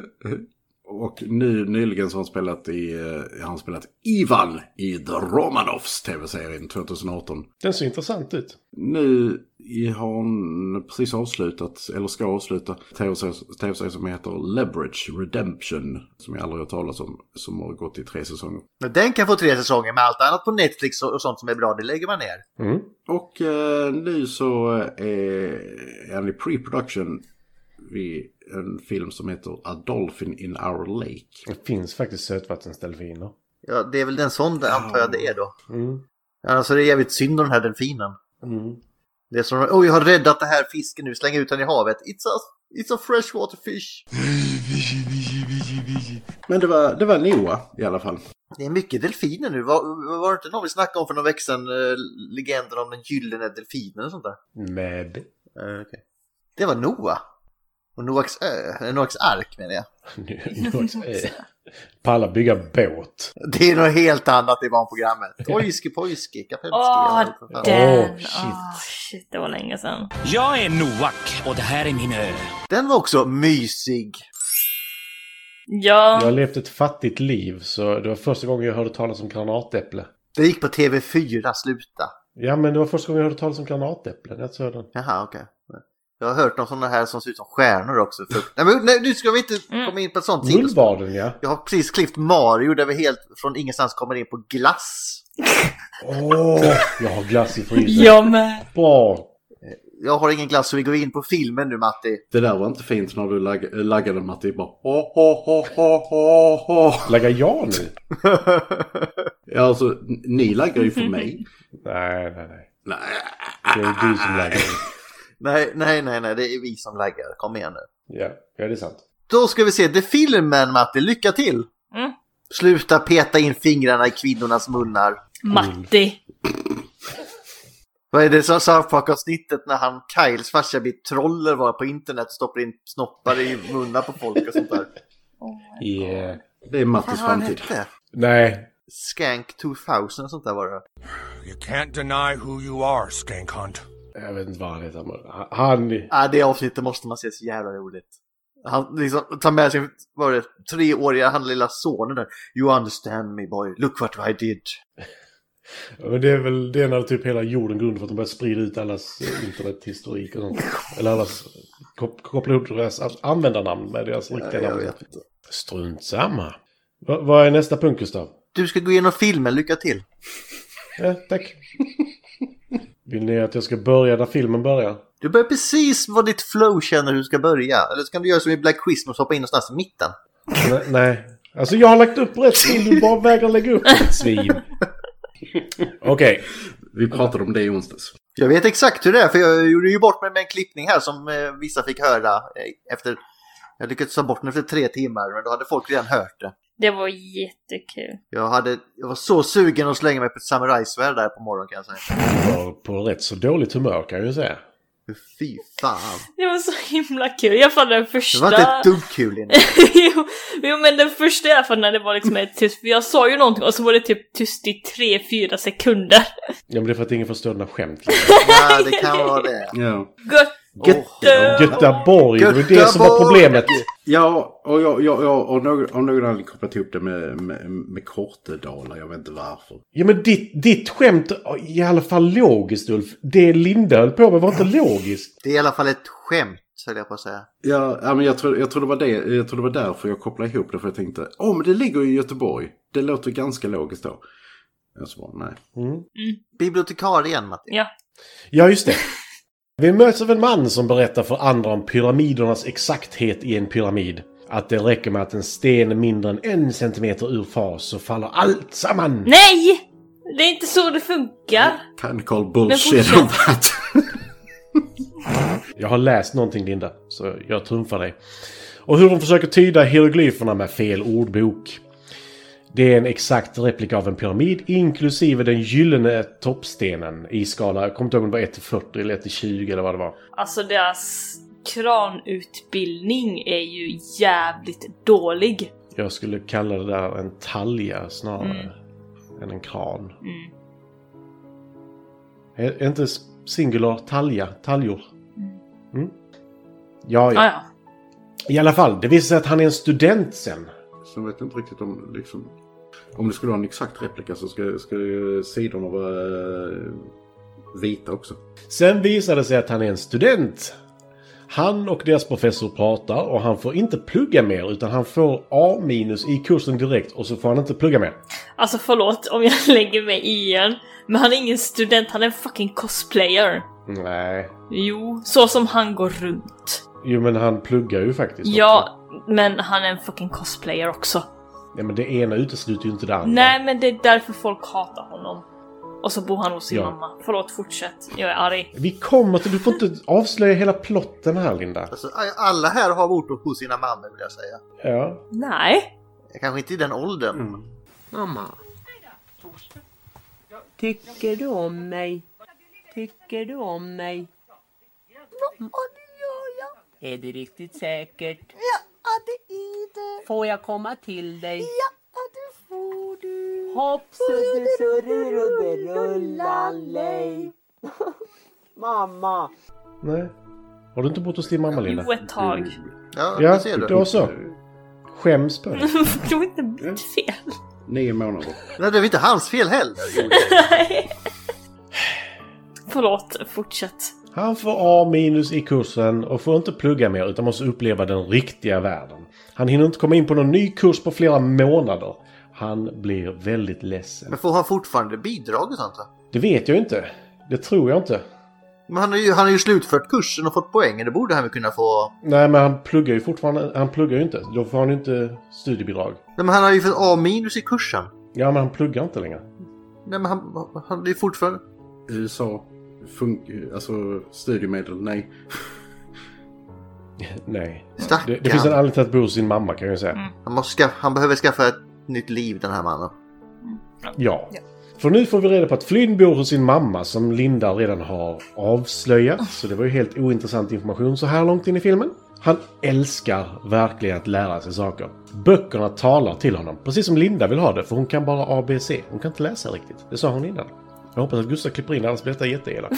S4: Och nu, nyligen så har han spelat i, eh, han har spelat Ivan i The Romanovs tv-serien 2018.
S3: Den ser intressant ut.
S4: Nu i- har hon precis avslutat, eller ska avsluta, tv-serien som heter Leverage Redemption. Som jag aldrig har talat om, som har gått i tre säsonger.
S2: Men Den kan få tre säsonger med allt annat på Netflix och och sånt som är bra, det lägger man ner.
S3: Mm.
S4: Och eh, nu så är, är han i pre-production vid en film som heter A Dolphin in Our Lake.
S3: Det finns faktiskt sötvattensdelfiner.
S2: Ja, det är väl den sån där, antar jag det är då.
S3: Mm.
S2: Annars är det jävligt synd om den här delfinen.
S3: Mm.
S2: Det är som åh jag har räddat den här fisken nu, släng ut den i havet. It's a, it's a freshwater fish.
S4: Men det var, det var Noah i alla fall.
S2: Det är mycket delfiner nu. Var, var det inte någon vi snackade om för någon vecka sedan? eh, legenden om den gyllene delfinen och sånt där?
S3: Med
S2: Eh, okej. Det var Noah. Och Noaks ö, eller Noaks ark menar jag.
S3: nu, nu också, eh, Palla bygga båt.
S2: Det är något helt annat i barnprogrammet. Ojski pojski, kapelski.
S1: Åh,
S2: ja, vad fan.
S1: den!
S3: Åh,
S1: Åh,
S3: shit.
S1: shit. Det var länge sedan.
S6: Jag är Noak och det här är min ö.
S2: Den var också mysig.
S3: Jag har
S1: Ja,
S3: levt ett fattigt liv så det var första gången jag hörde talas om granatäpple.
S2: Det gick på TV4, sluta.
S3: Ja men det var första gången jag hörde talas om granatäpple när jag såg den.
S2: Jaha, okej. Jag har hört om sådana här som ser ut som stjärnor också. Frukt- Nej, men nej, nu ska vi inte
S1: Mm.
S2: komma in på ett sånt sidospår.
S3: Mullvarden ja.
S2: Jag har precis klippt Mario där vi helt från ingenstans kommer in på glass.
S3: Åh, jag har glass i frysen.
S1: jag med.
S3: Bra.
S2: Jag har ingen glass så vi går in på filmen nu Matti.
S4: Det där var inte fint när du lag, laggade Matti bara ho, ho, ho, ho, ho, ho.
S3: Laggar jag nu?
S4: Ja, alltså, n- ni laggar ju för mig.
S3: Nej, nej, nej.
S4: Nej.
S3: Det är du som laggar.
S2: Nej, nej, nej, nej, det är vi som laggar. Kom igen nu.
S3: Ja, ja det är sant.
S2: Då ska vi se The Filmen Matti, lycka till!
S1: Mm.
S2: Sluta peta in fingrarna i kvinnornas munnar.
S1: Matti.
S2: Vad är det som South Park-avsnittet när han, Kyles farsa, blir troller bara på internet och stoppar in snoppar i munnar på folk och sånt där.
S3: Yeah.
S4: Det är
S2: Vad
S4: Mattis
S2: var han
S4: framtid.
S2: hette?
S3: eh, Nej,
S2: Skank 2000 och sånt där var det.
S10: You can't deny who you are, Skank Hunt.
S3: jag vet inte vad han heter. men Han...
S2: Nej, det avsnittet måste man se så jävla roligt. Han liksom tar med sin, vad var det, treåriga, han lilla sonen där. You understand me boy, look what I did.
S3: Ja, Men det är väl det när typ hela jorden går under för att de börjar sprida ut allas eh, internethistorik och sånt. Eller allas... Kop koppla ihop deras a- användarnamn med deras riktiga
S2: jag
S3: namn.
S2: vet inte.
S3: Strunt samma. Va vad är nästa punkt, Gustav?
S2: Du ska gå igenom filmen, lycka till.
S3: Ja, tack. Vill ni att jag ska börja där filmen börjar?
S2: Du börjar precis vad ditt flow känner hur du ska börja. Eller så kan du göra som i Black Christmas, hoppa in någonstans i mitten.
S3: Nej, nej. Alltså jag har lagt upp rätt film, du bara vägrar lägga upp ett svin. Okej.
S4: Vi pratade om det i onsdags.
S2: Jag vet exakt hur det är, för jag gjorde ju bort mig med en klippning här som eh, vissa fick höra eh, efter... Jag lyckades ta bort den efter tre timmar, men då hade folk redan hört det.
S1: Det var jättekul.
S2: Jag, hade, jag var så sugen att slänga mig på ett samurajsvärd där på morgonen kan jag säga.
S3: Var på rätt så dåligt humör kan jag ju säga.
S2: Fy fan.
S1: Det var så himla kul. I alla fall den första.
S2: Det var inte ett dugg kul innan.
S1: jo, jo men den första i alla fall när det var liksom ett tyst, för jag sa ju någonting och så var det typ tyst i 3-4 sekunder.
S3: Ja men det är för att ingen förstår dina skämt.
S2: Ja, det kan vara det.
S4: Ja,
S1: Gött! eh,
S2: Åh.
S3: Göteborg, det var ju det som var
S2: Göteborg!
S3: problemet.
S4: ja och jag, jag, jag av någon av någon anledning kopplat ihop det med, med, med Kortedala. Jag vet inte varför.
S3: Ja men ditt, ditt skämt, i alla fall logiskt Ulf. Det Linda höll på med var inte logiskt.
S2: Det är i alla fall ett skämt, höll jag på att säga.
S4: Ja, ja, men jag tror, jag, tror det var det, jag tror det var därför jag kopplade ihop det. För jag tänkte, åh men det ligger ju i Göteborg. Det låter ganska logiskt då. Jag svarar nej.
S7: Bibliotekarien, Matti.
S1: Ja.
S3: Mm. Ja, just det. Vi möts av en man som berättar för andra om pyramidernas exakthet i en pyramid. Att det räcker med att en sten är mindre än en centimeter ur fas så faller allt samman.
S1: Nej! Det är inte så det funkar.
S4: Can call bullshit
S1: fortsätt.
S4: on that.
S3: Jag har läst någonting Linda, så jag trumfar dig. Och hur de försöker tyda hieroglyferna med fel ordbok. Det är en exakt replika av en pyramid inklusive den gyllene toppstenen i skala, jag kommer inte ihåg om det var 1 till 40 eller 1 till 20 eller vad det var.
S1: Alltså deras kranutbildning är ju jävligt dålig.
S3: Jag skulle kalla det där en talja snarare än en kran.
S1: Mm.
S3: Är, är inte s- singular talja? Taljor? Mm. Ja,
S1: Ah,
S3: ja.
S1: ja.
S3: I alla fall, det visar sig att han är en student sen.
S4: Sen vet jag inte riktigt om liksom... Om det skulle vara en exakt replika så ska, ska ju sidorna vara eh, vita också.
S3: Sen visar det sig att han är en student. Han och deras professor pratar och han får inte plugga mer utan han får A minus i kursen direkt och så får han inte plugga mer.
S1: Alltså förlåt om jag lägger mig i igen, men han är ingen student, han är en fucking cosplayer.
S3: Nej.
S1: Jo, så som han går runt.
S3: Jo men han pluggar ju faktiskt. också.
S1: Ja, men han är en fucking cosplayer också.
S3: ja men det ena utesluter ju inte det andra.
S1: Nej, men det är därför folk hatar honom. Och så bor han hos sin
S3: Ja.
S1: mamma. Förlåt, fortsätt. Jag är arg.
S3: Vi kommer till... Du får inte avslöja hela plotten här, Linda.
S7: Alltså, alla här har bott hos sina mammor, vill jag säga.
S3: Ja.
S1: Nej.
S7: Kanske inte i den åldern.
S1: Mm.
S11: Mamma. Tycker du om mig? Tycker du om mig? Ja, det gör jag. Är det riktigt säkert? Ja, det är det. Får jag komma till dig? Ja, det får du. Hopp, sudde, surre, rubbe, rulla, lej. Mamma.
S3: Nej. Har du inte bott hos din mamma, Linda?
S1: Jo, ett tag.
S7: Ja,
S3: Ja,
S7: det ser du.
S3: då så. Skäms på dig.
S1: Det var inte mitt fel.
S4: Nio månader.
S7: Nej, det är väl inte hans fel heller.
S1: Förlåt, fortsätt.
S3: Han får A minus i kursen och får inte plugga mer utan måste uppleva den riktiga världen. Han hinner inte komma in på någon ny kurs på flera månader. Han blir väldigt ledsen.
S7: Men får han fortfarande bidrag och sånt? va?
S3: Det vet jag ju inte. Det tror jag inte.
S7: Men han har ju, han har ju slutfört kursen och fått poäng. Det borde han väl kunna få.
S3: Nej, men han pluggar ju fortfarande. Han pluggar ju inte. Då får han ju inte studiebidrag.
S7: Nej, men han har ju fått A minus i kursen.
S3: Ja, men han pluggar inte längre.
S7: Nej, men han, han är ju fortfarande...
S4: USA, fun- alltså studiemedel, nej.
S3: Nej. Det,
S7: Stackarn.
S3: det finns en anledning till att bo hos sin mamma kan jag ju säga.
S7: Han, måste skaffa, han behöver skaffa ett nytt liv, den här mannen.
S3: Ja. För nu får vi reda på att Flynn bor hos sin mamma som Linda redan har avslöjat. Så det var ju helt ointressant information så här långt in i filmen. Han älskar verkligen att lära sig saker. Böckerna talar till honom, precis som Linda vill ha det, för hon kan bara ABC. Hon kan inte läsa riktigt. Det sa hon innan. Jag hoppas att Gustav klipper in, annars blir detta jätteelakt.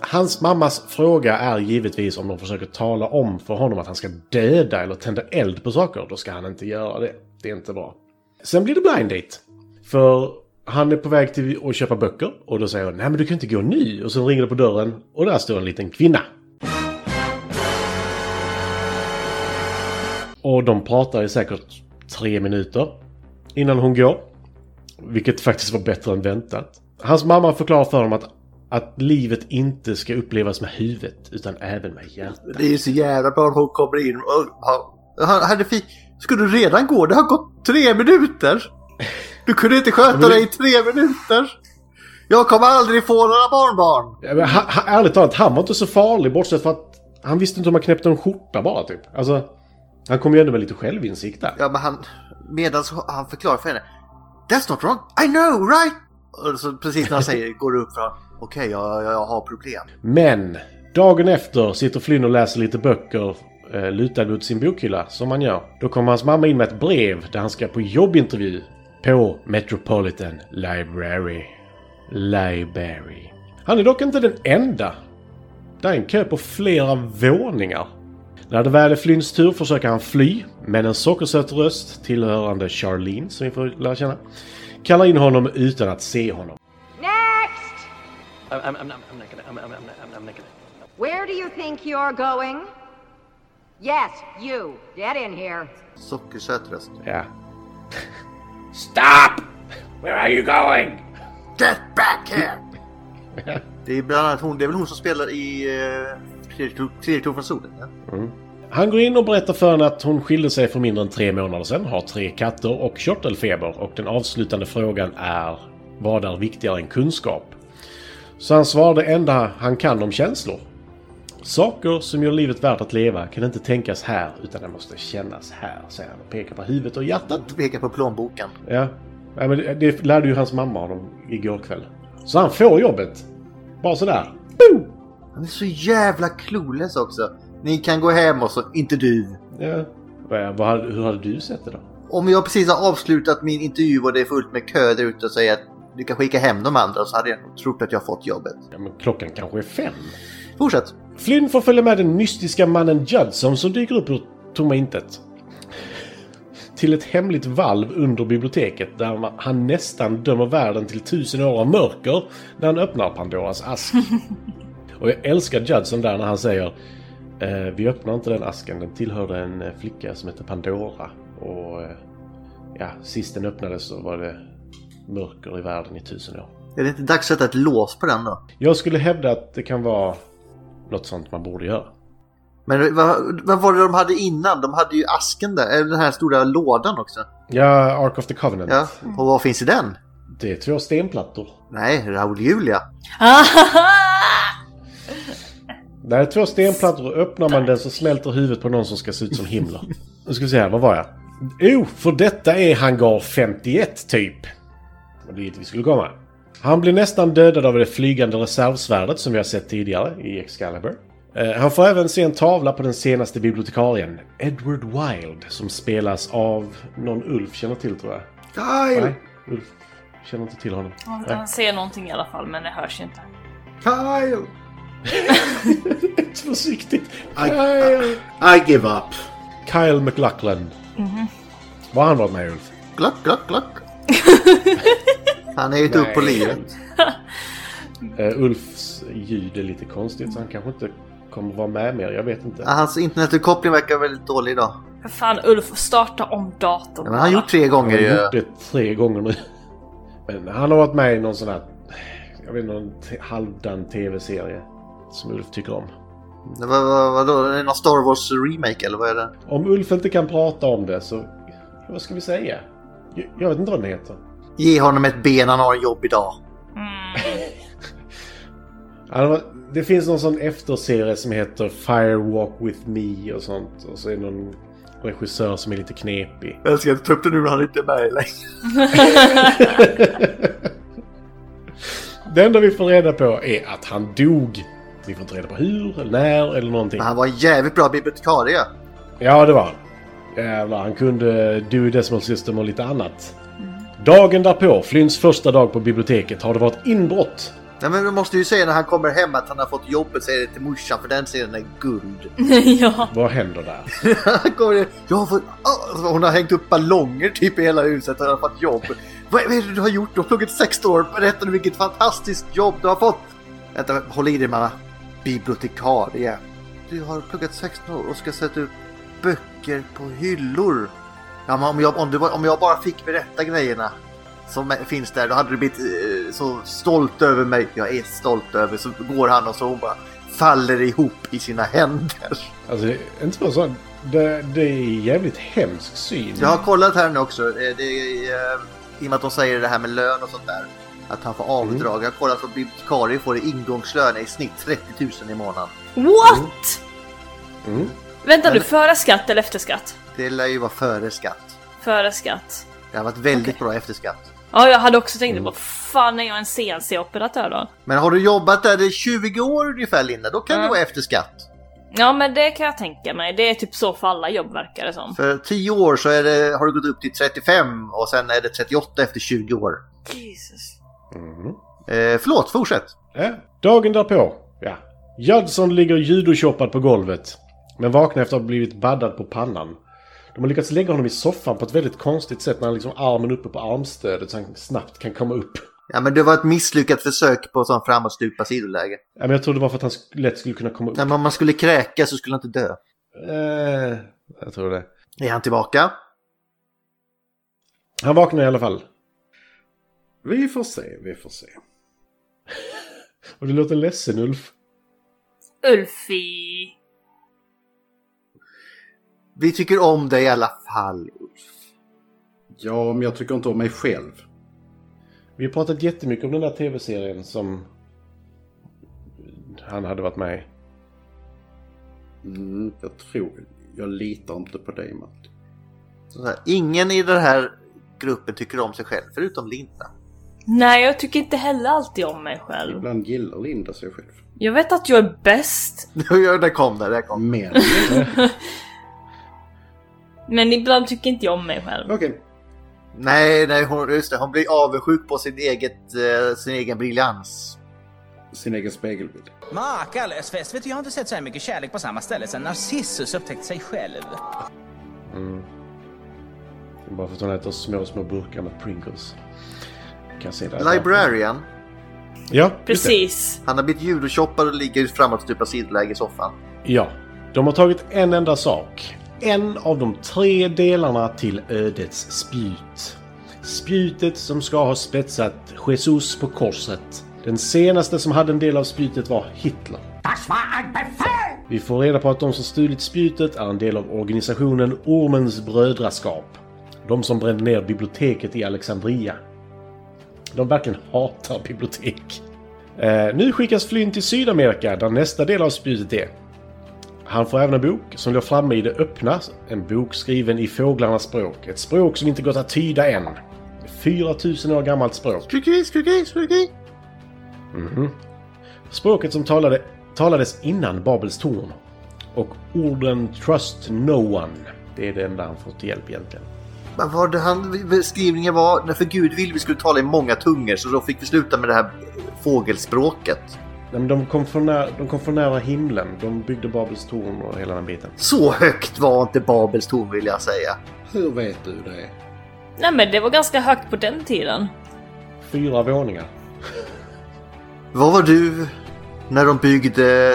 S3: Hans mammas fråga är givetvis om de försöker tala om för honom att han ska döda eller tända eld på saker. Då ska han inte göra det. Det är inte bra. Sen blir det blind date. För han är på väg till att köpa böcker och då säger hon nej men du kan inte gå nu. Och sen ringer det på dörren och där står en liten kvinna. Och de pratar i säkert tre minuter innan hon går. Vilket faktiskt var bättre än väntat. Hans mamma förklarar för honom att, att livet inte ska upplevas med huvudet utan även med hjärtat.
S7: Det är ju så jävla bra att hon kommer in och... Han, han hade fi, Ska du redan gå? Det har gått tre minuter! Du kunde inte sköta dig i tre minuter! Jag kommer aldrig få några barnbarn!
S3: Ja, men ha, ha, ärligt talat, han var inte så farlig bortsett från att han visste inte hur man knäppte en skjorta bara typ. Alltså, han kom ju ändå med lite självinsikt där.
S7: Ja, men han... Medan han förklarar för henne. That's not wrong! I know, right? Och så precis när han säger går det upp för honom. Okej, jag, jag, jag har problem.
S3: Men dagen efter sitter Flynn och läser lite böcker eh, lutad mot sin bokhylla, som man gör. Då kommer hans mamma in med ett brev där han ska på jobbintervju på Metropolitan Library. Library. Han är dock inte den enda. Det är en kö på flera våningar. När det väl är Flynns tur försöker han fly, men en sockersöt röst tillhörande Charlene, som vi får lära känna, kallar in honom utan att se honom.
S12: Next!
S9: I'm, I'm, I'm, not, I'm not gonna. I'm, I'm, I'm, not- I'm not gonna.
S12: Where do you think you're going? Yes, you. Get in here.
S7: Sockersöt röst.
S3: Ja. Stop!
S13: Where are you going?
S7: Get back here! det är bland annat hon, det är väl hon som spelar i uh, Tredje från solen? Ja?
S3: Mm. Han går in och berättar för henne att hon skilde sig för mindre än tre månader sedan, har tre katter och körtelfeber och den avslutande frågan är vad är viktigare än kunskap? Så han svarar det enda han kan om känslor. Saker som gör livet värt att leva kan inte tänkas här utan det måste kännas här, säger han och pekar på huvudet och hjärtat.
S7: Pekar på plånboken.
S3: Ja, Nej, men det- det lärde ju hans mamma honom igår kväll. Så han får jobbet. Bara sådär.
S7: Han är så jävla clueless också. Ni kan gå hem och så, inte du.
S3: Ja. Vad, vad, hade- hur hade du sett det då?
S7: Om jag precis har avslutat min intervju och det är fullt med kö där ute och säger att du kan skicka hem de andra så hade jag nog trott att jag fått jobbet.
S3: Ja, men klockan kanske är fem.
S7: Fortsätt.
S3: Flynn får följa med den mystiska mannen Judson som dyker upp ur tomma intet. Till ett hemligt valv under biblioteket där han nästan dömer världen till tusen år av mörker när han öppnar Pandoras ask. Och jag älskar Judson där när han säger eh, Vi öppnar inte den asken, den tillhörde en eh, flicka som hette Pandora. Och eh, ja, sist den öppnades så var det mörker i världen i tusen år.
S7: Är det inte dags att sätta ett lås på den då?
S3: Jag skulle hävda att det kan vara något sånt man borde göra.
S7: Men vad, vad var det de hade innan? De hade ju asken där, eller den här stora lådan också.
S3: Ja, Ark of the Covenant.
S7: Ja, och vad finns i den?
S3: Det är två stenplattor.
S7: Nej, Raoul Julia.
S3: Det är två stenplattor och öppnar man den så smälter huvudet på någon som ska se ut som Himmler. Nu ska vi se här, vad var jag? Jo, för detta är hangar 51 typ. Och det är dit vi skulle komma. Han blir nästan dödad av det flygande reservsvärdet som vi har sett tidigare i Excalibur. Eh, Han får även se en tavla på den senaste bibliotekarien, Edward Wilde, som spelas av någon Ulf känner till tror jag.
S7: Kyle!
S3: Nej, Ulf känner inte till honom.
S1: Han,
S3: Nej.
S1: han säger någonting i alla fall men det hörs ju inte.
S7: Kyle!
S3: Försiktigt.
S4: I, I give up.
S3: Kyle McLachlan.
S1: Mhm.
S3: Vad har han varit med i, Ulf?
S7: Glack, glack, glack. Han är ju inte
S3: Nej.
S7: upp på livet.
S3: Eh, Ulfs ljud är lite konstigt så han kanske inte kommer vara med mer. Jag vet inte.
S7: Ja, Hans internetuppkoppling verkar väldigt dålig idag.
S1: För fan Ulf, starta om datorn.
S7: Men han har gjort tre gånger
S3: Han har
S7: ju.
S3: gjort det tre gånger nu. Men han har varit med i någon sån här... Jag vet inte, någon t- halvdan tv-serie. Som Ulf tycker om.
S7: Vad, vad, vadå, är det någon Star Wars remake eller vad är det?
S3: Om Ulf inte kan prata om det så... Vad ska vi säga? Jag, jag vet inte vad den heter.
S7: Ge honom ett ben, han har en jobb idag.
S1: Mm.
S3: Han har- Det finns någon sån efterserie som heter Firewalk with me och sånt. Och så är det någon regissör som är lite knepig.
S7: Jag ska ta upp det nu när han inte är med
S3: Det enda vi får reda på är att han dog. Vi får inte reda på hur, eller när eller någonting.
S7: Men han var en jävligt bra bibliotekarie.
S3: Ja, det var han. Jävlar, han kunde Dewey Decimal System och lite annat. Dagen därpå, Flynns första dag på biblioteket, har det varit inbrott.
S7: Nej men du måste ju säga när han kommer hem att han har fått jobbet, säger det till morsan för den serien är guld.
S1: ja.
S3: Vad händer där?
S7: Han kommer, jag har fått, ah, hon har hängt upp ballonger typ i hela huset och han har fått jobb. Vad, vad är det du har gjort? Du har pluggat 16 år. Berätta nu vilket fantastiskt jobb du har fått. Vänta, håll i dig mamma. Bibliotekarie. Du har pluggat 16 år och ska sätta upp böcker på hyllor. Ja, men om, jag, om, du, bara- om jag bara fick berätta grejerna som är- finns där, då hade du blivit eh, så stolt över mig. Jag är stolt över. Så går han och så hon bara faller ihop i sina händer.
S3: Alltså, det är inte bara så. Det, det är en jävligt hemsk syn.
S7: Jag har kollat här nu också. eh, Det, är, eh, I och med att de säger det här med lön och sånt där. Att han får avdrag. Jag har kollat på bibliotekarie får i ingångslön i snitt 30 000 i månaden.
S1: What?
S3: Mm.
S1: Vänta nu, före skatt eller efter skatt?
S7: Det lär ju vara före skatt.
S1: Före skatt.
S7: Det har varit väldigt bra efter skatt.
S1: Ja, jag hade också tänkt det.
S7: Mm.
S1: Vad fan är jag en CNC-operatör då?
S7: Men har du jobbat där i 20 år ungefär Linda, då kan det
S1: Ja.
S7: vara efter skatt.
S1: Ja, men det kan jag tänka mig. Det är typ så för alla jobb verkar det som.
S7: För 10 år så är det, har du gått upp till 35 och sen är det 38 efter 20 år.
S1: Jesus.
S7: Eh, förlåt, fortsätt.
S3: Ja. Eh? Dagen därpå, ja. Judson ligger judoshoppad på golvet. Men vaknar efter att ha blivit baddad på pannan. De har lyckats lägga honom i soffan på ett väldigt konstigt sätt när han liksom har armen uppe på armstödet så han snabbt kan komma upp.
S7: Ja men det var ett misslyckat försök på sån framåtstupa sidoläge.
S3: Ja, men jag trodde det var för att han sk- lätt skulle kunna komma upp.
S7: Nej, men om man skulle kräka så skulle han inte dö.
S3: Eh, jag tror det.
S7: Är han tillbaka?
S3: Han vaknar i alla fall.
S4: Vi får se, vi får se.
S3: Och du låter ledsen Ulf.
S1: Ulfi!
S7: Vi tycker om dig i alla fall.
S4: Ja, men jag tycker inte om mig själv.
S3: Vi har pratat jättemycket om den där tv-serien som han hade varit med i.
S4: Mm, jag tror... Jag litar inte på dig, Matti.
S7: Så här, ingen i den här gruppen tycker om sig själv, förutom Linda.
S1: Nej, jag tycker inte heller alltid om mig själv.
S4: Ibland gillar Linda sig själv.
S1: Jag vet att jag är bäst,
S7: Ja, där kom det, där kom
S4: Men...
S1: men ibland tycker inte jag om mig själv.
S4: Okej.
S7: Nej, nej, hon, just det, hon blir avundsjuk på sin, eget, eh, sin egen briljans.
S4: Sin egen spegelbild.
S13: Makalös vet du, jag har inte sett så här mycket kärlek på samma ställe sedan Narcissus upptäckte sig själv.
S3: Mm. Det är Bara för att hon äter små, små burkar med Pringles. Kan se det.
S7: Librarian,
S3: Ja, just det.
S1: Precis.
S7: han har blivit judochoppad och ligger i framåtstupad sidoläge i soffan.
S3: Ja. De har tagit en enda sak. En av de tre delarna till ödets spjut. Spjutet som ska ha spetsat Jesus på korset. Den senaste som hade en del av spjutet var Hitler. Vi får reda på att de som stulit spjutet är en del av organisationen Ormens brödraskap. De som brände ner biblioteket i Alexandria. De verkligen hatar bibliotek. Eh, nu skickas Flynn till Sydamerika där nästa del av spjutet är. Han får även en bok som låg framme i det öppna. En bok skriven i fåglarnas språk. Ett språk som inte gått att tyda än. 4000 år gammalt språk.
S7: Skrikeri, skrikeri, skrikeri!
S3: Mhm. Språket som talade, talades innan Babels torn. Och orden “Trust no one”. Det är det enda han får till hjälp egentligen.
S7: Men vad det han, beskrivningen var, "Nej, för gud vill vi skulle tala i många tungor så då fick vi sluta med det här fågelspråket.
S3: Nej, men de, kom för nära, de kom för nära himlen. De byggde Babels torn och hela den biten.
S7: Så högt var inte Babels torn vill jag säga.
S4: Hur vet du det?
S1: Nej men det var ganska högt på den tiden.
S3: Fyra våningar.
S7: Vad var du när de byggde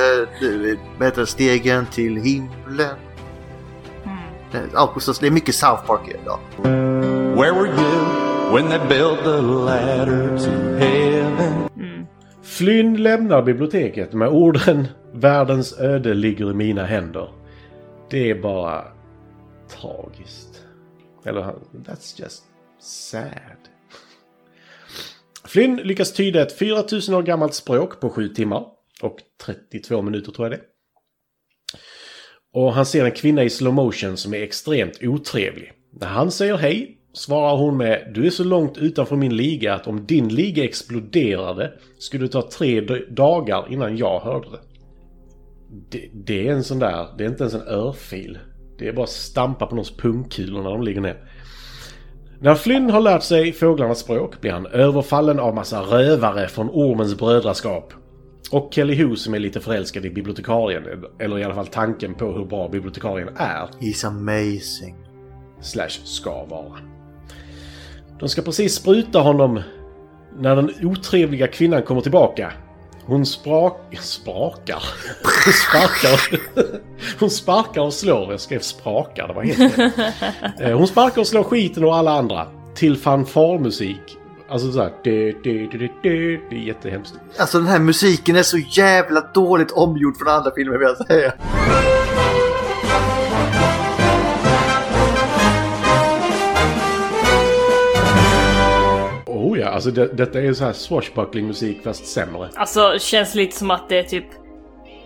S7: eh, vad heter det, stegen till himlen? Mm. Augustus, det är mycket South Park idag.
S5: Where were you when they built the ladder to heaven?
S3: Flynn lämnar biblioteket med orden “Världens öde ligger i mina händer”. Det är bara tragiskt. Eller han- that's just sad. Flynn lyckas tyda ett 4000 år gammalt språk på 7 timmar och 32 minuter tror jag det. Och han ser en kvinna i slow motion som är extremt otrevlig. När han säger hej svarar hon med “Du är så långt utanför min liga att om din liga exploderade skulle det ta tre d- dagar innan jag hörde det." det. Det är en sån där, det är inte ens en örfil. Det är bara att stampa på någons pungkulor när de ligger ner. När Flynn har lärt sig fåglarnas språk blir han överfallen av massa rövare från Ormens brödraskap. Och Kelly Hu som är lite förälskad i bibliotekarien, eller i alla fall tanken på hur bra bibliotekarien är,
S7: He's amazing.
S3: slash ska vara. De ska precis spruta honom när den otrevliga kvinnan kommer tillbaka. Hon sprak... sprakar? Hon sparkar... Hon sparkar och slår. Jag skrev sprakar, det var helt fel. Eh, Hon sparkar och slår skiten och alla andra. Till fanfarmusik. Alltså såhär... Det, det, det, det, det är jättehemskt.
S7: Alltså den här musiken är så jävla dåligt omgjord från andra filmer vill jag säga.
S3: Oh ja, alltså det, detta är så här swashbuckling musik fast sämre.
S1: Alltså känns lite som att det är typ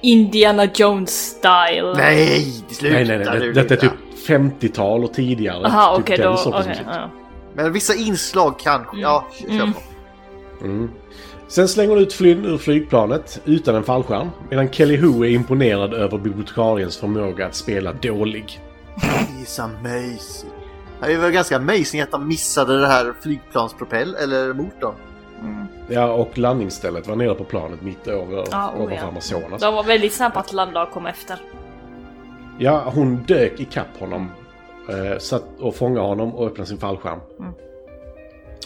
S1: Indiana Jones style.
S7: Nej, sluta
S3: Nej, nej,
S7: nu,
S3: nej. Det, detta är
S7: Linda.
S3: typ 50-tal och tidigare.
S1: Aha,
S3: typ
S1: okej
S3: den
S1: då.
S3: sortens
S1: okej,
S3: musik.
S1: ja.
S7: Men vissa inslag kanske. Ja, kör
S1: Mm.
S7: på.
S3: Mm. Sen slänger hon ut Flynn ur flygplanet utan en fallskärm medan Kelly Hu är imponerad över bibliotekariens förmåga att spela dålig.
S7: He's amazing. Det var ganska amazing att de missade det här flygplanspropell eller motorn.
S3: Ja, och landningsstället var nere på planet mitt över,
S1: Ja, oh,
S3: ovanför
S1: ja.
S3: Amazonas.
S1: De var väldigt snabba att landa och komma efter.
S3: Ja, hon dök ikapp honom. Eh, satt och fångade honom och öppnade sin fallskärm.
S1: Mm.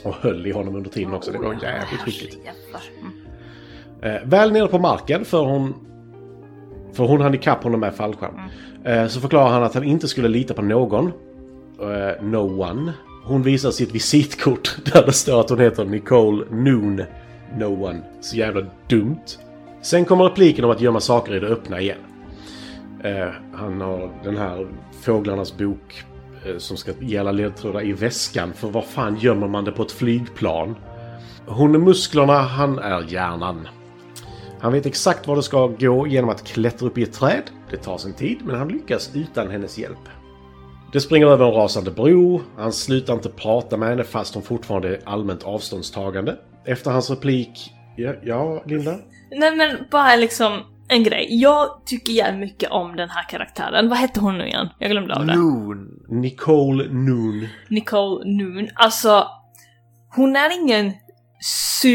S3: Och höll i honom under tiden också. Det var jävligt skickligt.
S1: Jävlar. Mm.
S3: Eh, väl nere på marken för hon... För hon hann ikapp honom med fallskärm. Eh, så förklarar han att han inte skulle lita på någon. Eh, no one. Hon visar sitt visitkort där det står att hon heter Nicole Noon No One. Så jävla dumt. Sen kommer repliken om att gömma saker i det öppna igen. Eh, han har den här fåglarnas bok eh, som ska gälla ledtrådar i väskan. För vad fan gömmer man det på ett flygplan? Hon är musklerna, han är hjärnan. Han vet exakt var det ska gå genom att klättra upp i ett träd. Det tar sin tid, men han lyckas utan hennes hjälp. Det springer över en rasande bro. Han slutar inte prata med henne fast hon fortfarande är allmänt avståndstagande. Efter hans replik... Ja, ja Linda?
S1: Nej men bara liksom en grej. Jag tycker jävligt mycket om den här karaktären. Vad hette hon nu igen? Jag glömde av det.
S3: Noon. Nicole Noon.
S1: Nicole Noon. Alltså, hon är ingen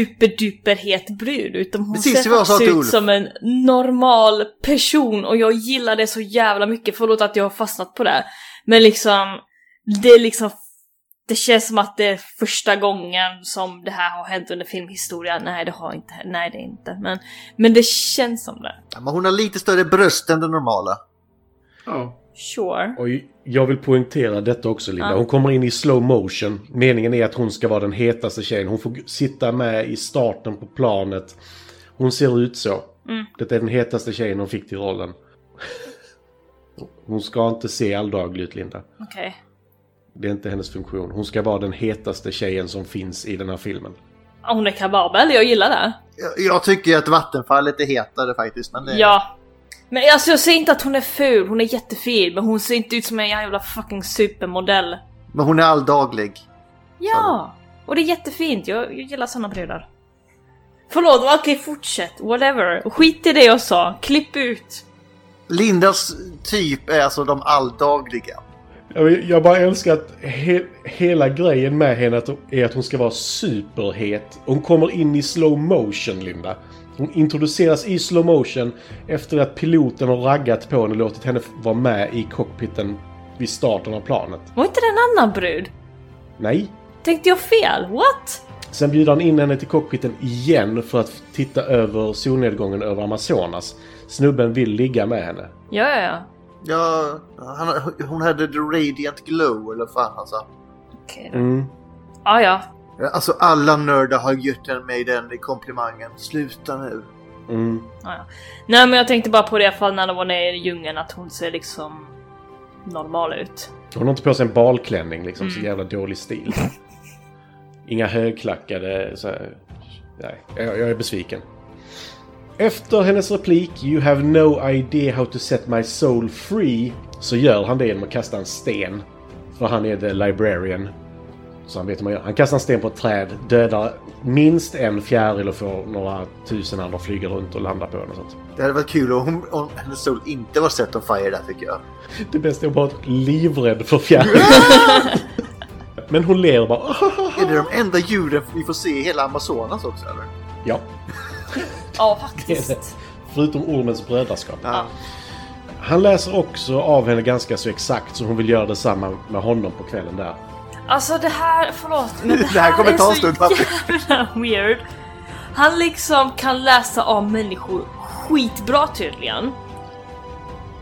S1: superduperhet brud utan hon
S7: Precis
S1: ser
S7: vad jag sa
S1: faktiskt
S7: till
S1: ut
S7: Ulf.
S1: som en normal person och jag gillar det så jävla mycket. Förlåt att jag har fastnat på det. Men liksom, det är liksom det känns som att det är första gången som det här har hänt under filmhistorien. Nej, det har inte Nej, det är inte. Men, men det känns som det.
S7: Ja, Men hon har lite större bröst än det normala.
S1: Sure.
S3: Och jag vill poängtera detta också Linda.
S1: Ja.
S3: Hon kommer in i slow motion. Meningen är att hon ska vara den hetaste tjejen. Hon får g- sitta med i starten på planet. Hon ser ut så.
S1: Mm.
S3: Det är den hetaste tjejen hon fick till rollen. Hon ska inte se alldaglig ut Linda.
S1: Okej.
S3: Det är inte hennes funktion. Hon ska vara den hetaste tjejen som finns i den här filmen.
S1: Hon är kababel, jag gillar det.
S7: Jag, jag tycker ju att vattenfallet är hetare faktiskt. Men det...
S1: Ja. Men alltså jag säger inte att hon är ful, hon är jättefin, men hon ser inte ut som en jävla fucking supermodell.
S7: Men hon är alldaglig.
S1: Ja! Och det är jättefint, jag, jag gillar såna brudar. Förlåt, okej fortsätt, whatever. Skit i det jag sa, klipp ut.
S7: Lindas typ är alltså de alldagliga.
S3: Jag, jag bara älskar att he, hela grejen med henne att, är att hon ska vara superhet. Hon kommer in i slow motion, Linda. Hon introduceras i slow motion efter att piloten har raggat på henne och låtit henne vara med i cockpiten vid starten av planet.
S1: Var inte det en annan brud?
S3: Nej.
S1: Tänkte jag fel? What?
S3: Sen bjuder han in henne till cockpiten igen för att titta över solnedgången över Amazonas. Snubben vill ligga med henne.
S1: Ja, ja, ja.
S7: Ja, han, hon hade the radiant glow eller vad fan han sa.
S1: Okej då.
S3: Mm.
S1: Ah, ja.
S7: Alltså alla nördar har gett mig den komplimangen. Sluta nu.
S3: Mm.
S1: Ah, ja. Nej men jag tänkte bara på det i alla fall när de var nere i djungeln, att hon ser liksom normal ut.
S3: Hon har inte på sig en balklänning liksom, så
S1: Mm.
S3: jävla dålig stil. Inga högklackade så här. Nej, jag, jag är besviken. Efter hennes replik “You have no idea how to set my soul free” så gör han det genom att kasta en sten. För han är the librarian. Så han vet hur man gör. Han kastar en sten på ett träd, dödar minst en fjäril och får några tusen andra flyga runt och landa på den och sånt.
S7: Det hade varit kul om, hon, om hennes sol inte var set on fire där tycker jag.
S3: Det bästa är att vara livrädd för fjärilar. Men hon ler bara
S7: Är det de enda djuren vi får se i hela Amazonas också eller?
S3: “Ja,
S1: Ja,
S3: det är det.
S1: faktiskt.
S3: Förutom ormens brödraskap.
S7: Ja.
S3: Han läser också av henne ganska så exakt så hon vill göra detsamma med honom på kvällen där.
S1: Alltså det här, förlåt, men det,
S7: Det här kommer
S1: är
S7: ta en
S1: så
S7: stund, pappa.
S1: jävla weird. Han liksom kan läsa av människor skitbra tydligen.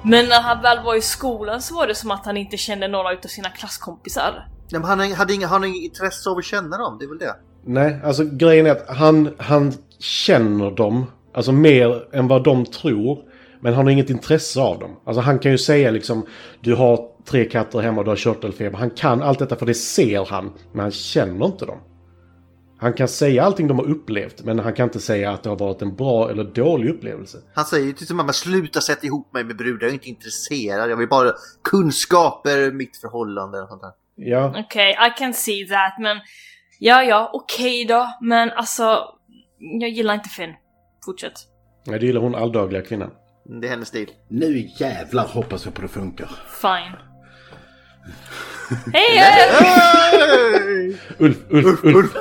S1: Men när han väl var i skolan så var det som att han inte kände några utav sina klasskompisar.
S7: Nej, men han hade inga, han har inget intresse av att känna dem, det är väl det?
S3: Nej, alltså grejen är att han, han känner dem, alltså mer än vad de tror. Men han har inget intresse av dem. Alltså han kan ju säga liksom du har tre katter hemma och du har körtelfeber. Han kan allt detta för det ser han, men han känner inte dem. Han kan säga allting de har upplevt, men han kan inte säga att det har varit en bra eller dålig upplevelse.
S7: Han säger ju till sin mamma sluta sätta ihop mig med brudar, jag är inte intresserad, jag vill bara kunskaper, mitt förhållande och sånt där.
S3: Ja,
S1: Okej, I can see that, men ja, ja, okej då, men alltså jag gillar inte Finn. Fortsätt.
S3: Nej, det gillar hon alldagliga kvinnan.
S7: Mm, Det är hennes stil.
S4: Nu jävlar hoppas jag på det funkar.
S1: Fine. Hej! Hey!
S3: Ulf, Ulf, Ulf.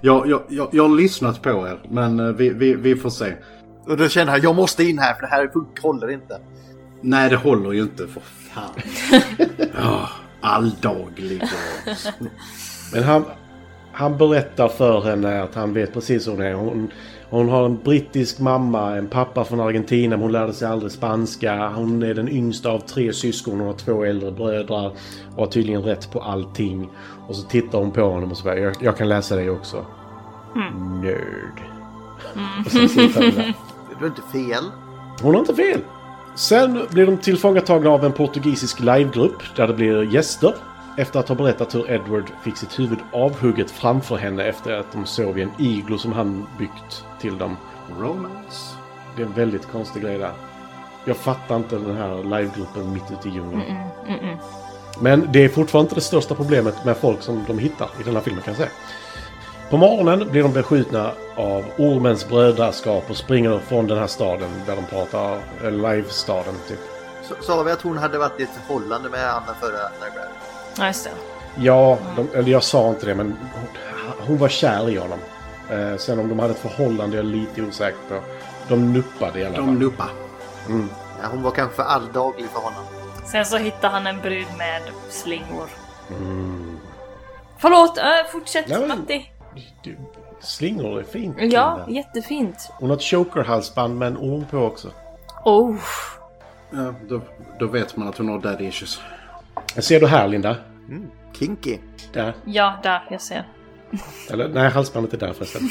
S4: Jag, jag, jag, jag har lyssnat på er, men eh, vi, vi, vi får se.
S7: Och då känner han, jag måste in här för det här funkar- håller inte.
S4: Nej, det håller ju inte, för fan. oh, alldaglig. och-
S3: Men han, han berättar för henne att han vet precis hur hon är. Hon, hon har en brittisk mamma, en pappa från Argentina, men hon lärde sig aldrig spanska. Hon är den yngsta av tre syskon, hon har två äldre bröder och har tydligen rätt på allting. Och så tittar hon på honom och så bara, jag, jag kan läsa dig också.
S1: Mm.
S3: Nörd.
S1: Mm.
S3: Och sen så hittar vi det.
S7: Du har inte fel.
S3: Hon har inte fel. Sen blir de tillfångatagna av en portugisisk livegrupp där det blir gäster. Efter att ha berättat hur Edward fick sitt huvud avhugget framför henne efter att de sov i en iglo som han byggt till dem.
S4: Romance.
S3: Det är en väldigt konstig grej där. Jag fattar inte den här livegruppen mitt ute i djungeln.
S1: Mm-mm.
S3: Men det är fortfarande inte det största problemet med folk som de hittar i den här filmen kan jag säga. På morgonen blir de beskjutna av ormens brödraskap och springer från den här staden där de pratar, eh, live-staden typ.
S7: Så, sa vi att hon hade varit i ett förhållande med Anna förra Library?
S1: Ja, just det.
S3: Ja, de, eller jag sa inte det men hon, hon var kär i honom. Eh, sen om de hade ett förhållande är jag lite osäker på. De nuppade i alla fall.
S4: De nuppade.
S3: Mm.
S7: Ja, hon var kanske för alldaglig för honom.
S1: Sen så hittar han en brud med slingor.
S3: Mm.
S1: Förlåt, äh, fortsätt
S3: Nej, men-
S1: Matti.
S3: Du, slingor är fint.
S1: Ja,
S3: Linda.
S1: jättefint.
S3: Hon har ett chokerhalsband med en orm på också.
S1: Oh.
S4: Ja, då, då vet man att hon har daddy issues.
S3: Jag ser du här Linda?
S7: Kinky.
S3: Där.
S1: Ja, där, jag ser.
S3: Eller nej, halsbandet är där förresten.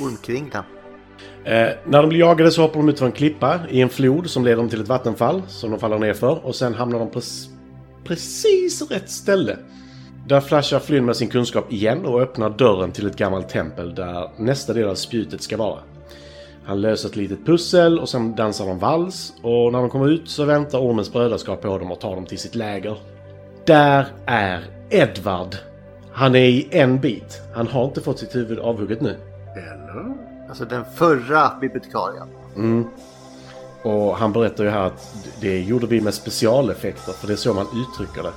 S7: Ormkringla.
S3: Eh, när de blir jagade så hoppar de ut från en klippa i en flod som leder dem till ett vattenfall som de faller ner för och sen hamnar de på s- precis rätt ställe. Där flashar Flynn med sin kunskap igen och öppnar dörren till ett gammalt tempel där nästa del av spjutet ska vara. Han löser ett litet pussel och sen dansar de vals och när de kommer ut så väntar Ormens brödraskap på dem och tar dem till sitt läger. Där är Edvard! Han är i en bit. Han har inte fått sitt huvud avhugget nu.
S4: Eller?
S7: Alltså den förra bibliotekarien.
S3: Mm. Och han berättar ju här att det gjorde vi med specialeffekter, för det är så man uttrycker det.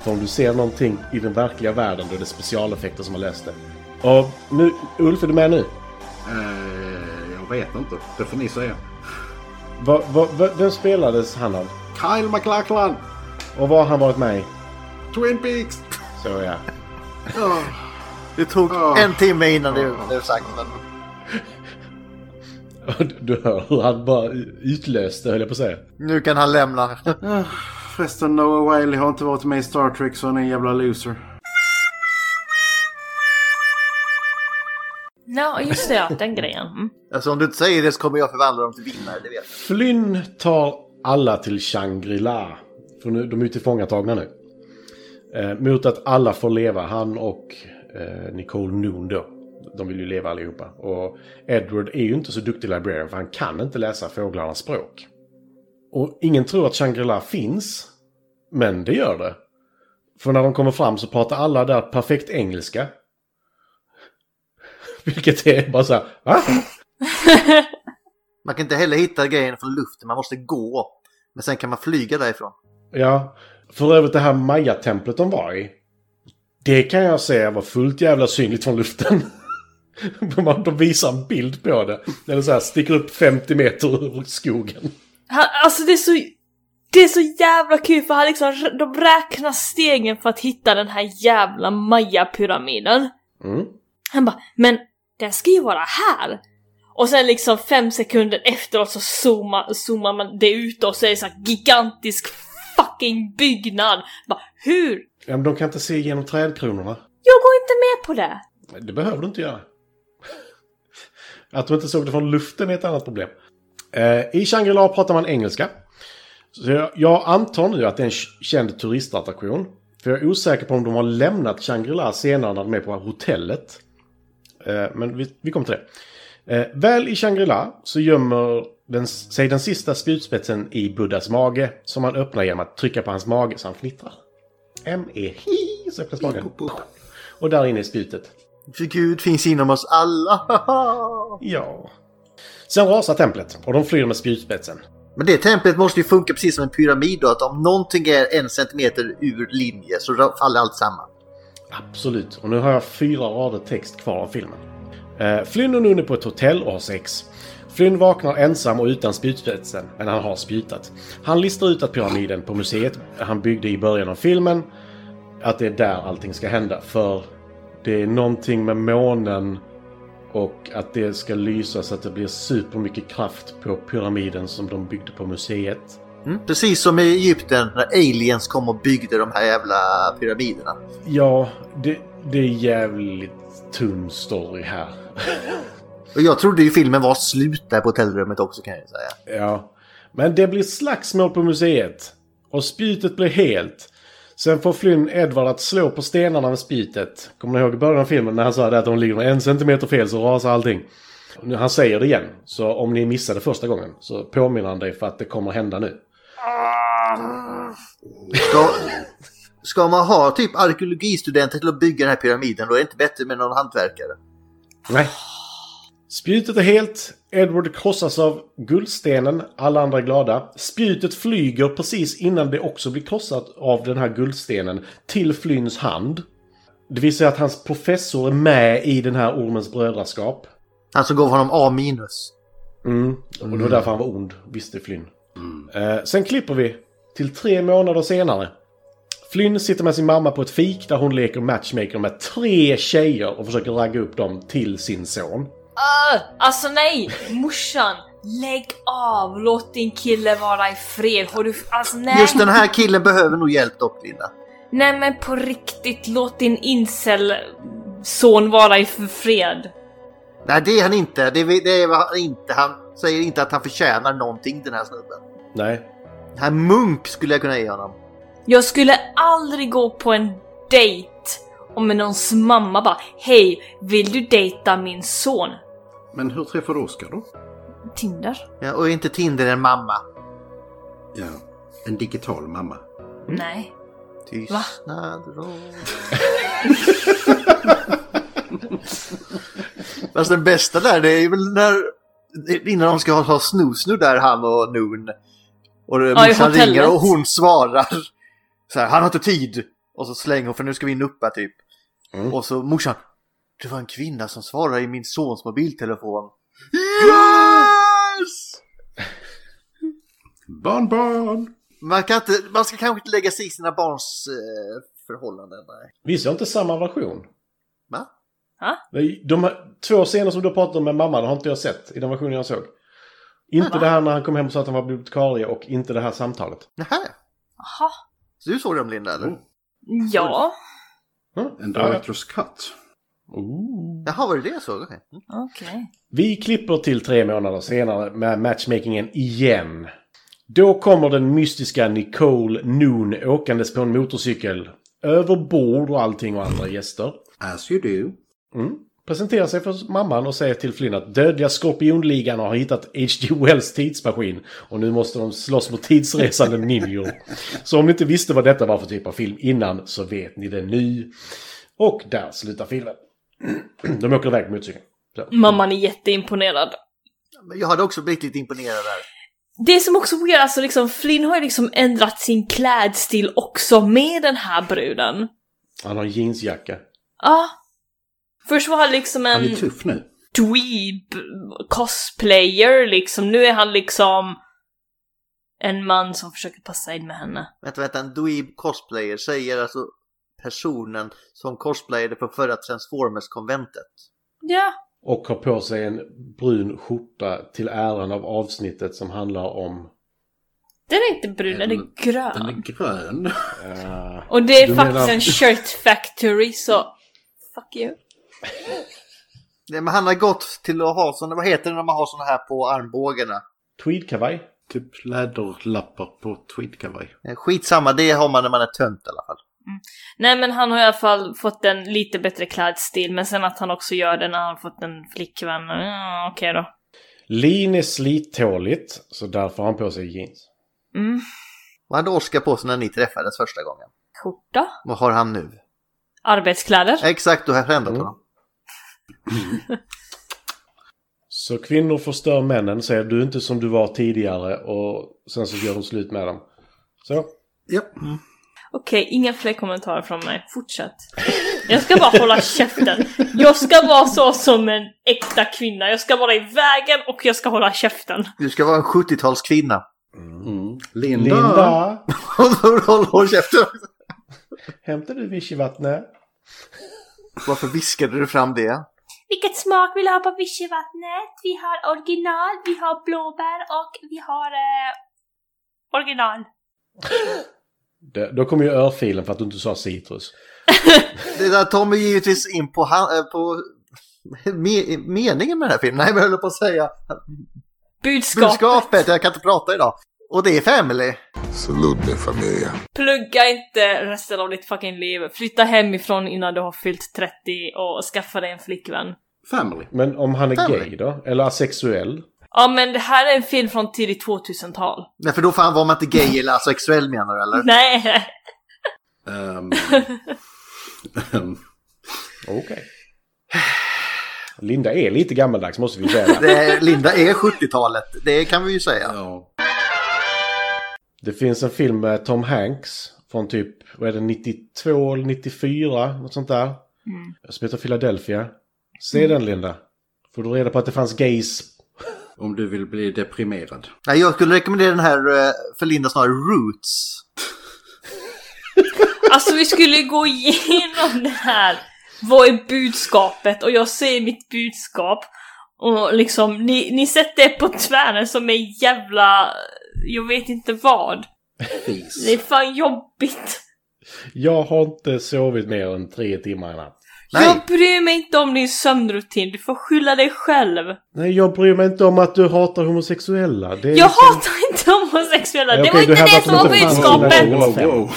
S3: för om du ser någonting i den verkliga världen, då är det specialeffekter som har löst det. Och nu, Ulf, är du med nu?
S4: Eh, jag vet inte. Det får ni säga.
S3: Va, va, va, vem spelades han av?
S4: Kyle MacLachlan!
S3: Och vad har han varit med i?
S4: Twin Peaks!
S3: Så ja.
S4: Ah,
S7: Det tog
S4: Ah.
S7: en timme innan det blev sagt. Men...
S3: Och du- Du hör hur han bara utlöste, höll jag på att säga.
S7: Nu kan han lämna.
S4: ah, Förresten, Noah Wiley har inte varit med i Star Trek så han är en jävla loser.
S1: Ja, just det, ja, den grejen. Mm.
S7: Alltså om du inte säger det så kommer jag förvandla dem till vinnare, det vet jag.
S3: Flynn tar alla till Shangri-La. För nu, de är ju tillfångatagna nu. Eh, mot att alla får leva. Han och eh, Nicole Noon då. De vill ju leva allihopa. Och Edward är ju inte så duktig librarian för han kan inte läsa fåglarnas språk. Och ingen tror att Shangri-La finns. Men det gör det. För när de kommer fram så pratar alla där perfekt engelska. Vilket är bara så här, va?
S7: Man kan inte heller hitta grejen från luften, man måste gå. Men sen kan man flyga därifrån.
S3: Ja. För övrigt det här Maya-templet de var i. Det kan jag säga var fullt jävla synligt från luften. de visar en bild på det. Eller så här, sticker upp 50 meter ur skogen.
S1: Han, alltså det är så... Det är så jävla kul för han liksom, de räknar stegen för att hitta den här jävla Maya-pyramiden.
S3: Mm.
S1: Han bara, men den ska ju vara här! Och sen liksom fem sekunder efteråt så zoomar, zoomar man det ut och så är det så här gigantisk fucking byggnad! Bara, hur?
S3: Ja, men de kan inte se igenom trädkronorna.
S1: Jag går inte med på det!
S3: Det behöver du inte göra. Att de inte såg det från luften är ett annat problem. Eh, I Shangri-La pratar man engelska. Så jag, jag antar nu att det är en k- känd turistattraktion. För jag är osäker på om de har lämnat Shangri-La senare när de är på hotellet. Eh, men vi, vi kommer till det. Eh, väl i Shangri-La så gömmer den, sig den sista spjutspetsen i Buddhas mage. Som han öppnar genom att trycka på hans mage så han fnittrar. M-E-Hi så öppnas magen. Och där inne är spjutet.
S7: För Gud finns inom oss alla.
S3: Ja. Sen rasar templet och de flyr med spjutspetsen.
S7: Men det templet måste ju funka precis som en pyramid då, att om någonting är en centimeter ur linje så ra- faller allt samman.
S3: Absolut. Och nu har jag fyra rader text kvar av filmen. Eh, Flynn och Nun är på ett hotell och har sex. Flynn vaknar ensam och utan spjutspetsen, men han har spjutat. Han listar ut att pyramiden på museet han byggde i början av filmen att det är där allting ska hända. För det är någonting med månen och att det ska lysa så att det blir supermycket kraft på pyramiden som de byggde på museet.
S7: Mm, precis som i Egypten när aliens kom och byggde de här jävla pyramiderna.
S3: Ja, det, det är jävligt tunn story här.
S7: Och jag trodde ju filmen var slut där på hotellrummet också kan jag ju säga.
S3: Ja. Men det blir slagsmål på museet. Och spjutet blir helt. Sen får Flynn Edward att slå på stenarna med spjutet. Kommer ni ihåg i början av filmen när han sa det att om de ligger en centimeter fel så rasar allting? Nu, Han säger det igen. Så om ni missade första gången så påminner han dig för att det kommer hända nu.
S7: Ska, ska man ha typ arkeologistudenter till att bygga den här pyramiden då är det inte bättre med någon hantverkare.
S3: Nej. Spjutet är helt. Edward krossas av guldstenen. Alla andra är glada. Spjutet flyger precis innan det också blir krossat av den här guldstenen till Flynns hand. Det vill säga att hans professor är med i den här Ormens brödraskap.
S7: Han som gav honom A minus.
S3: Mm. Och det var därför han var ond, visste Flynn. Eh, sen klipper vi till tre månader senare. Flynn sitter med sin mamma på ett fik där hon leker matchmaker med tre tjejer och försöker ragga upp dem till sin son.
S1: Öh, alltså nej! Morsan! Lägg av! Låt din kille vara i fred. Har du... Alltså nej!
S7: Just den här killen behöver nog hjälp dock Linda.
S1: Nej men på riktigt, låt din incel-son vara i f- fred.
S7: Nej det är han inte. Det är, det är han inte. Han säger inte att han förtjänar någonting den här snubben.
S3: Nej.
S7: Den här munk skulle jag kunna ge honom.
S1: Jag skulle aldrig gå på en dejt om någons mamma bara Hej, vill du dejta min son?
S4: Men hur träffar du Oskar då?
S1: Tinder?
S7: Ja, och är inte Tinder en mamma?
S4: Ja, en digital mamma.
S3: Mm.
S1: Nej.
S7: Tystnad råd. Fast den bästa där det är väl när innan de ska ha, ha snusnu där han och Noon. Och
S1: Ja, i
S7: morsan
S1: hotellet.
S7: ringer och hon svarar. Så här, han har inte tid. Och så slänger hon för nu ska vi nuppa typ. Och så morsan. Det var en kvinna som svarade i min sons mobiltelefon. Yes!
S4: Barn, barn!
S7: Man, kan inte, man ska kanske inte lägga sig i sina barns eh, förhållanden. Nej.
S3: Visst, jag har inte samma version.
S7: Va?
S1: Ha?
S3: Nej, De här två scener som du pratade om med mamman har inte jag sett i den versionen jag såg. Inte det här när han kom hem och sa att han var bibliotekarie och inte det här samtalet.
S7: Nähä,
S1: Jaha.
S7: så du såg dem Linda eller?
S1: Ja.
S4: En director's cut.
S7: Jaha, var det det så? Okej. Mm.
S1: Okej.
S3: Oh. Vi klipper till tre månader senare med matchmakingen igen. Då kommer den mystiska Nicole Noon åkandes på en motorcykel. Över bord och allting och andra gäster.
S4: As you do.
S3: Mm. Presenterar sig för mamman och säger till Flynn att dödliga skorpionligan har hittat H.G. Wells tidsmaskin och nu måste de slåss mot tidsresande ninjor. Så om ni inte visste vad detta var för typ av film innan så vet ni det nu. Och där slutar filmen. De åker iväg på motorcykeln. Så.
S1: Mamman är jätteimponerad.
S7: Men Jag hade också blivit lite imponerad där.
S1: Det som också är weird, alltså liksom Flynn har ju liksom ändrat sin klädstil också med den här bruden.
S3: Han har jeansjacka.
S1: Ja. Först var han liksom en...
S3: Han är typ- tuff nu.
S1: dweeb cosplayer liksom. Nu är han liksom en man som försöker passa in med henne.
S7: Vänta, vänta, en dweeb cosplayer säger alltså personen som cosplayade på förra Transformers-konventet.
S1: Ja.
S3: Och har på sig en brun skjorta till äran av avsnittet som handlar om...
S1: Den är inte brun, den är grön.
S4: är grön.
S3: eh,
S1: Och det är
S3: du
S1: faktiskt
S3: menar-
S1: en shirt factory så... Fuck you.
S7: Nej, men han har gått till att ha sådana, vad heter det när man har sådana här på armbågarna?
S3: Tweedkavaj?
S4: Typ läderlappar på tweedkavaj.
S7: Eh, Skitsamma, det har man när man är tönt i alla fall.
S1: Nej men han har i alla fall fått en lite bättre klädstil men sen att han också gör det när han har fått en flickvän. Ja, okej då.
S3: Lin är slittåligt, så därför har han på sig jeans.
S1: Mm.
S7: Vad hade Oskar på sig när ni träffades första gången?
S1: Skjorta? Eh,
S7: Vad har han nu?
S1: Arbetskläder?
S7: Exakt, du har förändrat honom.
S3: Så kvinnor förstör männen, säger du är inte som du var tidigare och sen så gör de slut med dem. Så.
S4: Ja.
S1: Okej, inga fler kommentarer från mig. Fortsätt. Jag ska bara hålla käften. Jag ska vara så som en äkta kvinna. Jag ska vara i vägen och jag ska hålla käften.
S7: Du ska vara en 70-talskvinna.
S4: Linda!
S3: Linda!
S7: Håll håll- håll käften!
S3: Hämtar du vichyvattnet?
S7: Varför viskade du fram det?
S14: Vilket smak vill du ha på vichyvattnet? Vi har original, vi har blåbär och vi har eh, original.
S3: Det, då kommer ju örfilen för att du inte sa citrus.
S7: Det där tar mig givetvis in på, han, eh, på me, meningen med den här filmen. Nej, men jag höll på att säga.
S1: Budskapet.
S7: Budskapet, jag kan inte prata idag. Och det är Family.
S15: Salute me familia.
S1: Plugga inte resten av ditt fucking liv. Flytta hemifrån innan du har fyllt 30 och skaffa dig en flickvän.
S4: Family.
S3: Men om han är
S1: Family.
S3: gay då? Eller asexuell?
S1: Ja men det här är en film från tidigt 2000-tal.
S7: Nej, för då fan var man inte gay eller asexuell menar du eller?
S1: Nej!
S4: Ehm,
S3: Okej. Linda är lite gammaldags måste vi säga.
S7: Det är, Linda är 70-talet, det kan vi ju säga.
S3: Det finns en film med Tom Hanks från typ, vad är det, 92 eller 94? Något sånt där.
S1: Mm.
S3: Som heter Philadelphia. Se den Linda. Får du reda på att det fanns gays.
S4: Om du vill bli deprimerad.
S7: Nej, jag skulle rekommendera den här eh, för Linda snarare, Roots.
S1: Alltså vi skulle ju gå igenom det här. Vad är budskapet? Och jag säger mitt budskap. Och liksom, ni, ni sätter er på tvären som är jävla... Jag vet inte vad. Det är fan jobbigt.
S3: Jag har inte sovit mer än tre timmar i natt.
S1: Jag bryr mig inte om din sömnrutin, du får skylla dig själv.
S3: Nej, jag bryr mig inte om att du hatar homosexuella. Det är liksom-
S1: Jag hatar inte homosexuella,
S3: Nej,
S1: det
S3: okej,
S1: var
S3: du
S1: inte det
S3: hävdar
S1: som
S3: att
S1: var
S3: de inte fanns
S1: budskapet!
S3: i
S1: God
S3: Wow, wow, wow.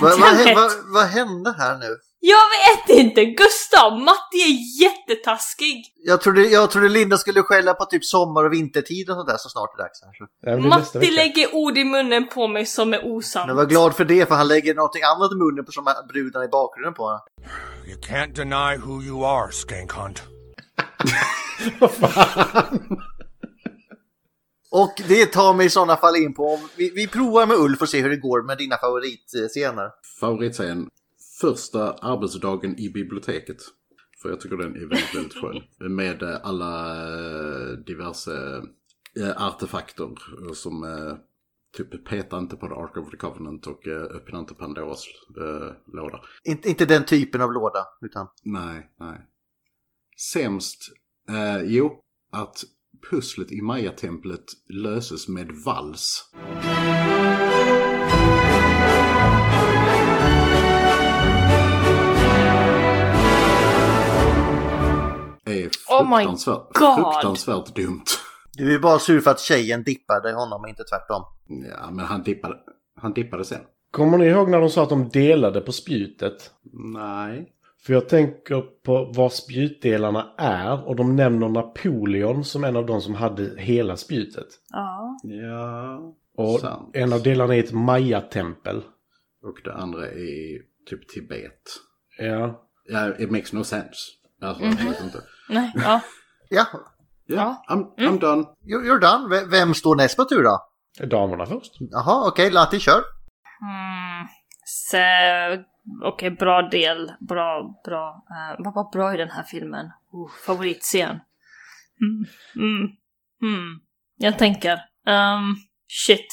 S7: Vad va,
S1: damn it.
S7: vad hände här nu?
S1: Jag vet inte, Gustav! Matti är jättetaskig!
S7: Jag trodde, jag trodde Linda skulle skälla på typ sommar och vintertid och sånt där så snart det är dags. kanske.
S1: Matti lägger ord i munnen på mig som är
S7: Jag
S1: osant.
S7: var glad för det, för han lägger någonting annat i munnen på som brudarna i bakgrunden på.
S16: You can't deny who you are, skank hunt.
S7: Och det tar mig i sådana fall in på, om vi, vi provar med Ulf och ser hur det går med dina favoritscener.
S4: favoritscen. Första arbetsdagen i biblioteket. För jag tycker den är väldigt, väldigt skön. Med eh, alla eh, diverse eh, artefakter eh, som eh, typ peta inte på The Ark of the Covenant och eh, öppna inte Pandoras eh, låda.
S7: Inte, inte den typen av låda, utan...
S4: Nej, nej. Sämst, eh, jo, att pusslet i Maya-templet löses med vals. Är
S1: Oh my
S4: fruktansvärt,
S1: God.
S4: fruktansvärt dumt.
S7: Du är bara sur för att tjejen dippade honom och inte tvärtom.
S4: Ja, men han dippade, han dippade sen.
S3: Kommer ni ihåg när de sa att de delade på spjutet?
S4: Nej.
S3: För jag tänker på vad spjutdelarna är och de nämner Napoleon som en av de som hade hela spjutet.
S1: Ja.
S4: Ja.
S3: Och
S4: Sant.
S3: en av delarna är ett Maya-tempel.
S4: Och det andra är typ Tibet.
S3: Ja.
S4: Ja, it makes no sense. Alltså,
S7: Mhm.
S4: jag vet inte.
S1: Nej, ja.
S7: Ja.
S4: Ja, Mm. I'm, I'm done.
S7: You're, you're done. V- Vem står näst på tur då?
S3: Damerna först.
S7: Jaha, okej, Latti kör.
S1: Mm. Så, Okej, bra del. Bra, bra. Eh, vad var bra i den här filmen? Oh, favoritscen. Mm. Mm. Mm. Jag tänker. Ehm, shit.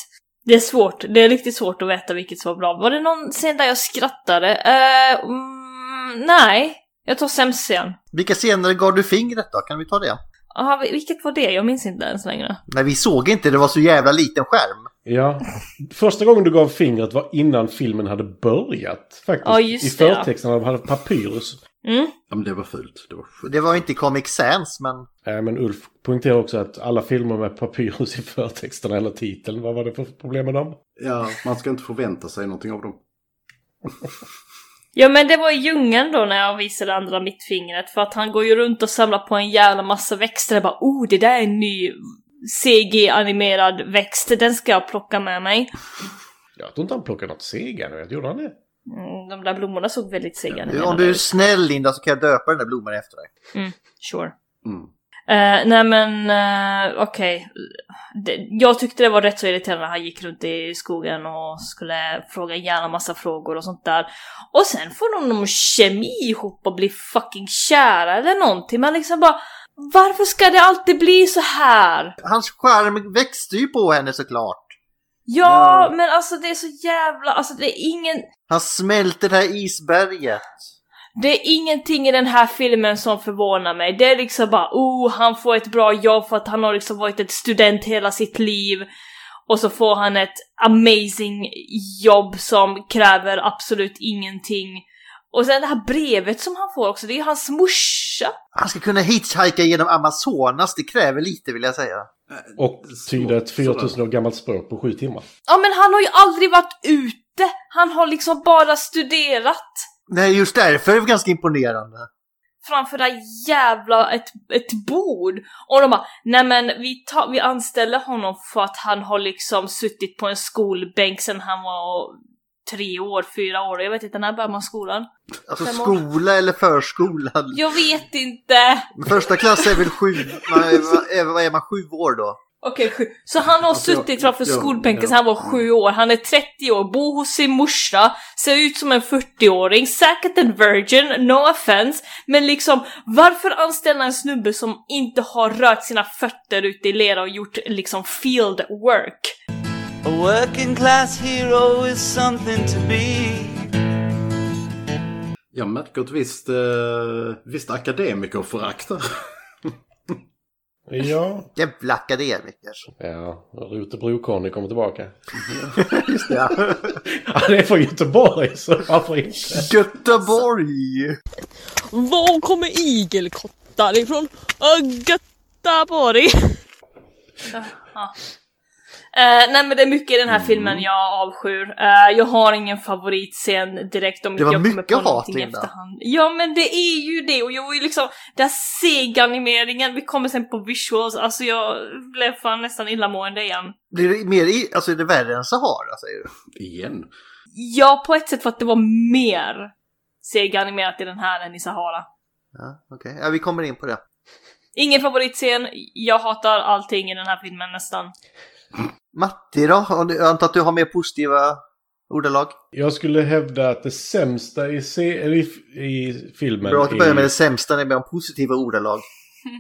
S1: Det är svårt. Det är riktigt svårt att veta vilket som var bra. Var det någon scen där jag skrattade? Eh, mm, nej. Jag tar sämst scen.
S7: Vilka scener gav du fingret då? Kan vi ta det?
S1: Aha, vil- vilket var det? Jag minns inte ens längre.
S7: Nej, vi såg inte. Det var så jävla liten skärm.
S3: Ja. Första gången du gav fingret var innan filmen hade börjat. Faktiskt.
S1: Ja, just
S3: I
S1: det, ja.
S3: förtexten hade de papyrus.
S1: Mm.
S4: Ja, men det var fult. Det var skit.
S7: Det var inte Comic Sans, men...
S3: Äh, men Ulf poängterar också att alla filmer med papyrus i förtexterna eller titeln, vad var det för problem med dem?
S4: Ja, man ska inte förvänta sig någonting av dem.
S1: Ja men det var i djungeln då när jag visade andra mittfingret för att han går ju runt och samlar på en jävla massa växter och bara oh det där är en ny CG-animerad växt, den ska jag plocka med mig.
S3: Jag tror inte han plockade något segar, vet Gjorde han det?
S1: Mm, de där blommorna såg väldigt
S7: Du, Om
S1: CG-animerade
S7: du är
S1: ut.
S7: snäll Linda så kan jag döpa den där blomman efter dig.
S1: Mm, sure.
S4: Mm.
S1: Eh, nej men eh, okej. Det- Jag tyckte det var rätt så irriterande när han gick runt i skogen och skulle fråga en jävla massa frågor och sånt där. Och sen får de någon kemi ihop och blir fucking kära eller någonting. Man liksom bara varför ska det alltid bli så här?
S7: Hans skärm växte ju på henne såklart.
S1: Ja, men alltså det är så jävla, alltså det är ingen,
S7: Han smälter det här isberget.
S1: det är ingenting i den här filmen som förvånar mig. Det är liksom bara, oh, han får ett bra jobb för att han har liksom varit ett student hela sitt liv. Och så får han ett amazing jobb som kräver absolut ingenting. Och sen det här brevet som han får också, det är ju hans morsa.
S7: Han ska kunna hitchhika genom Amazonas, det kräver lite vill jag säga.
S3: Och tyda ett 4000 år gammalt språk på sju timmar.
S1: Ja men han har ju aldrig varit ute! Han har liksom bara studerat
S7: Nej, just därför är det ganska imponerande.
S1: framför det här jävla ett, ett bord. Och de bara, nej men vi, tar, vi anställer honom för att han har liksom suttit på en skolbänk sedan han var tre år, fyra år, jag vet inte, när börjar man skolan?
S7: Alltså
S1: Fem år.
S7: skola eller förskola.
S1: Jag vet inte!
S7: Första klass är väl sju, man är, man är, vad är man sju år då?
S1: Okej, sju. så han har
S7: Alltså, jag- Mm.
S1: suttit framför
S7: ja,
S1: skolbänken
S7: ja.
S1: sedan han var sju år, han är 30 år, bor hos sin morsa, ser ut som en 40-åring, säkert en virgin, no offense, men liksom varför anställa en snubbe som inte har rört sina fötter ute i lera och gjort liksom field work?
S17: A working class hero is something to be.
S4: Jag märker ett visst, eh, visst akademikerförakt här.
S3: Ja.
S7: Jävla akademiker.
S3: Ja, Rute Brokorn, kommer tillbaka.
S7: Just det, ja.
S3: Han är från Göteborg, så varför inte?
S7: Göteborg!
S18: Var kommer igelkottar ifrån? Ö, Göteborg!
S1: Ja. Eh, nej men det är mycket i den här
S7: Mm.
S1: filmen jag avskyr. Eh, jag har ingen favoritscen direkt om
S7: Det var
S1: jag kommer
S7: mycket
S1: på
S7: hat
S1: någonting
S7: innan.
S1: efterhand. Ja men det är ju det och jag var ju liksom, den här seganimeringen, vi kommer sen på visuals, alltså jag blev fan nästan illamående igen.
S7: Blir det mer i, alltså är det värre än Sahara säger
S4: du? Igen?
S1: Ja på ett sätt för att det var mer seganimerat i den här än i Sahara.
S7: Ja, okej. Ja, vi kommer in på det.
S1: Ingen favoritscen, jag hatar allting i den här filmen nästan.
S7: Matti då? Har du- Jag antar att du har mer positiva ordalag?
S3: Jag skulle hävda att det sämsta i, se- eller i, f- i filmen...
S7: Bra att du börjar med det
S3: är...
S7: sämsta, när vi har positiva ordalag.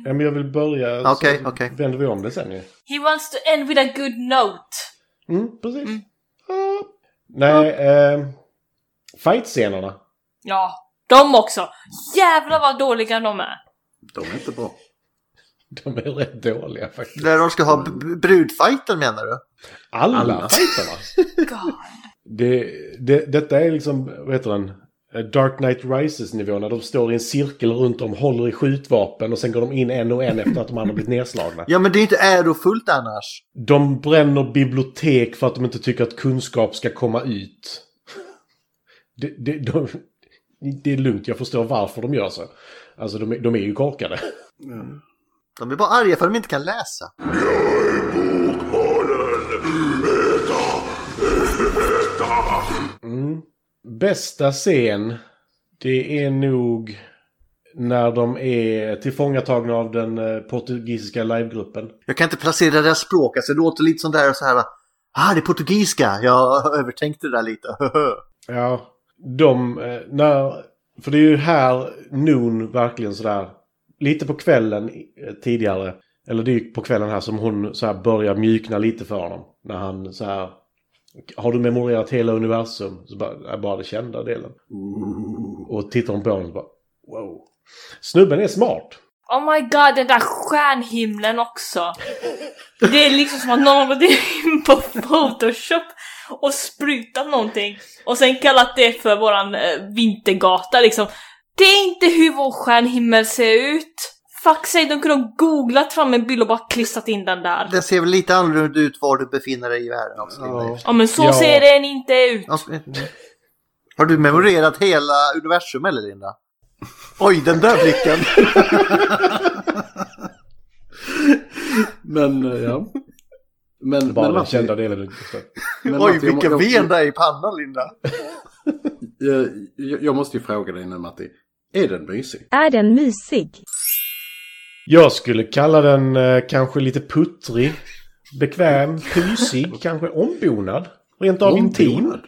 S3: Ja, men jag vill börja...
S7: Okej,
S3: så vänder vi om det sen ju.
S1: He wants to end with a good note.
S3: Mm, precis. Nej, eh, fight-scenerna.
S1: Ja, de också. Jävlar vad dåliga de är.
S4: De är inte bra.
S3: De är rätt dåliga faktiskt.
S7: När de ska ha b- b- brudfighten menar du?
S3: Alla,
S7: Alla.
S3: fighterna. Det, det, detta är liksom, vad heter den? Eh, Dark Knight Rises-nivå när de står i en cirkel runt om, håller i skjutvapen och sen går de in en och en efter att de andra blivit nedslagna.
S7: Ja men det är inte ärofullt annars.
S3: De bränner bibliotek för att de inte tycker att kunskap ska komma ut. Det, det, de, det är lugnt, jag förstår varför de gör så. Alltså de, är- de är ju korkade.
S7: De är bara arga för att de inte kan läsa.
S3: Mm. Bästa scen, det är nog när de är tillfångatagna av den eh, portugisiska livegruppen.
S7: Jag kan inte placera deras språk, alltså det låter lite som det här och så här va. Ah, det är portugisiska! Jag övertänkte det där lite.
S3: Ja. De, eh, när, för det är ju här Noon verkligen sådär, lite på kvällen eh, tidigare, eller det är ju på kvällen här som hon så här börjar mjukna lite för honom. När han så här, har du memorerat hela universum? Så bara, bara det kända delen. Och tittar hon på honom och bara, wow. Snubben är smart.
S1: Oh my god, den där stjärnhimlen också. Det är liksom som att någon har gått in på photoshop och sprutat någonting och sen kallat det för våran eh, vintergata liksom. Det är inte hur vår stjärnhimmel ser ut. Fuck sig, de kunde ha googlat fram en bild och bara klistrat in den där.
S7: Den ser väl lite annorlunda ut var du befinner dig i världen. Alltså, ja.
S1: Ja men så ser den inte ut.
S7: eh. Har du memorerat hela universum eller Linda? Oj, den där blicken!
S4: Men, eh, ja. Men,
S3: Bara
S4: men
S3: den
S4: Matti-
S3: kända delen.
S7: Oj,
S4: Matti, jag må-
S7: vilka
S4: jag-
S7: ben det är i pannan Linda!
S4: Jag, Eh, jag, jag måste ju fråga dig nu Matti. Är den mysig?
S19: Är den mysig?
S3: Jag skulle kalla den eh, kanske lite puttrig, bekväm, pysig, kanske ombonad. Rent av intim.
S4: Ombonad?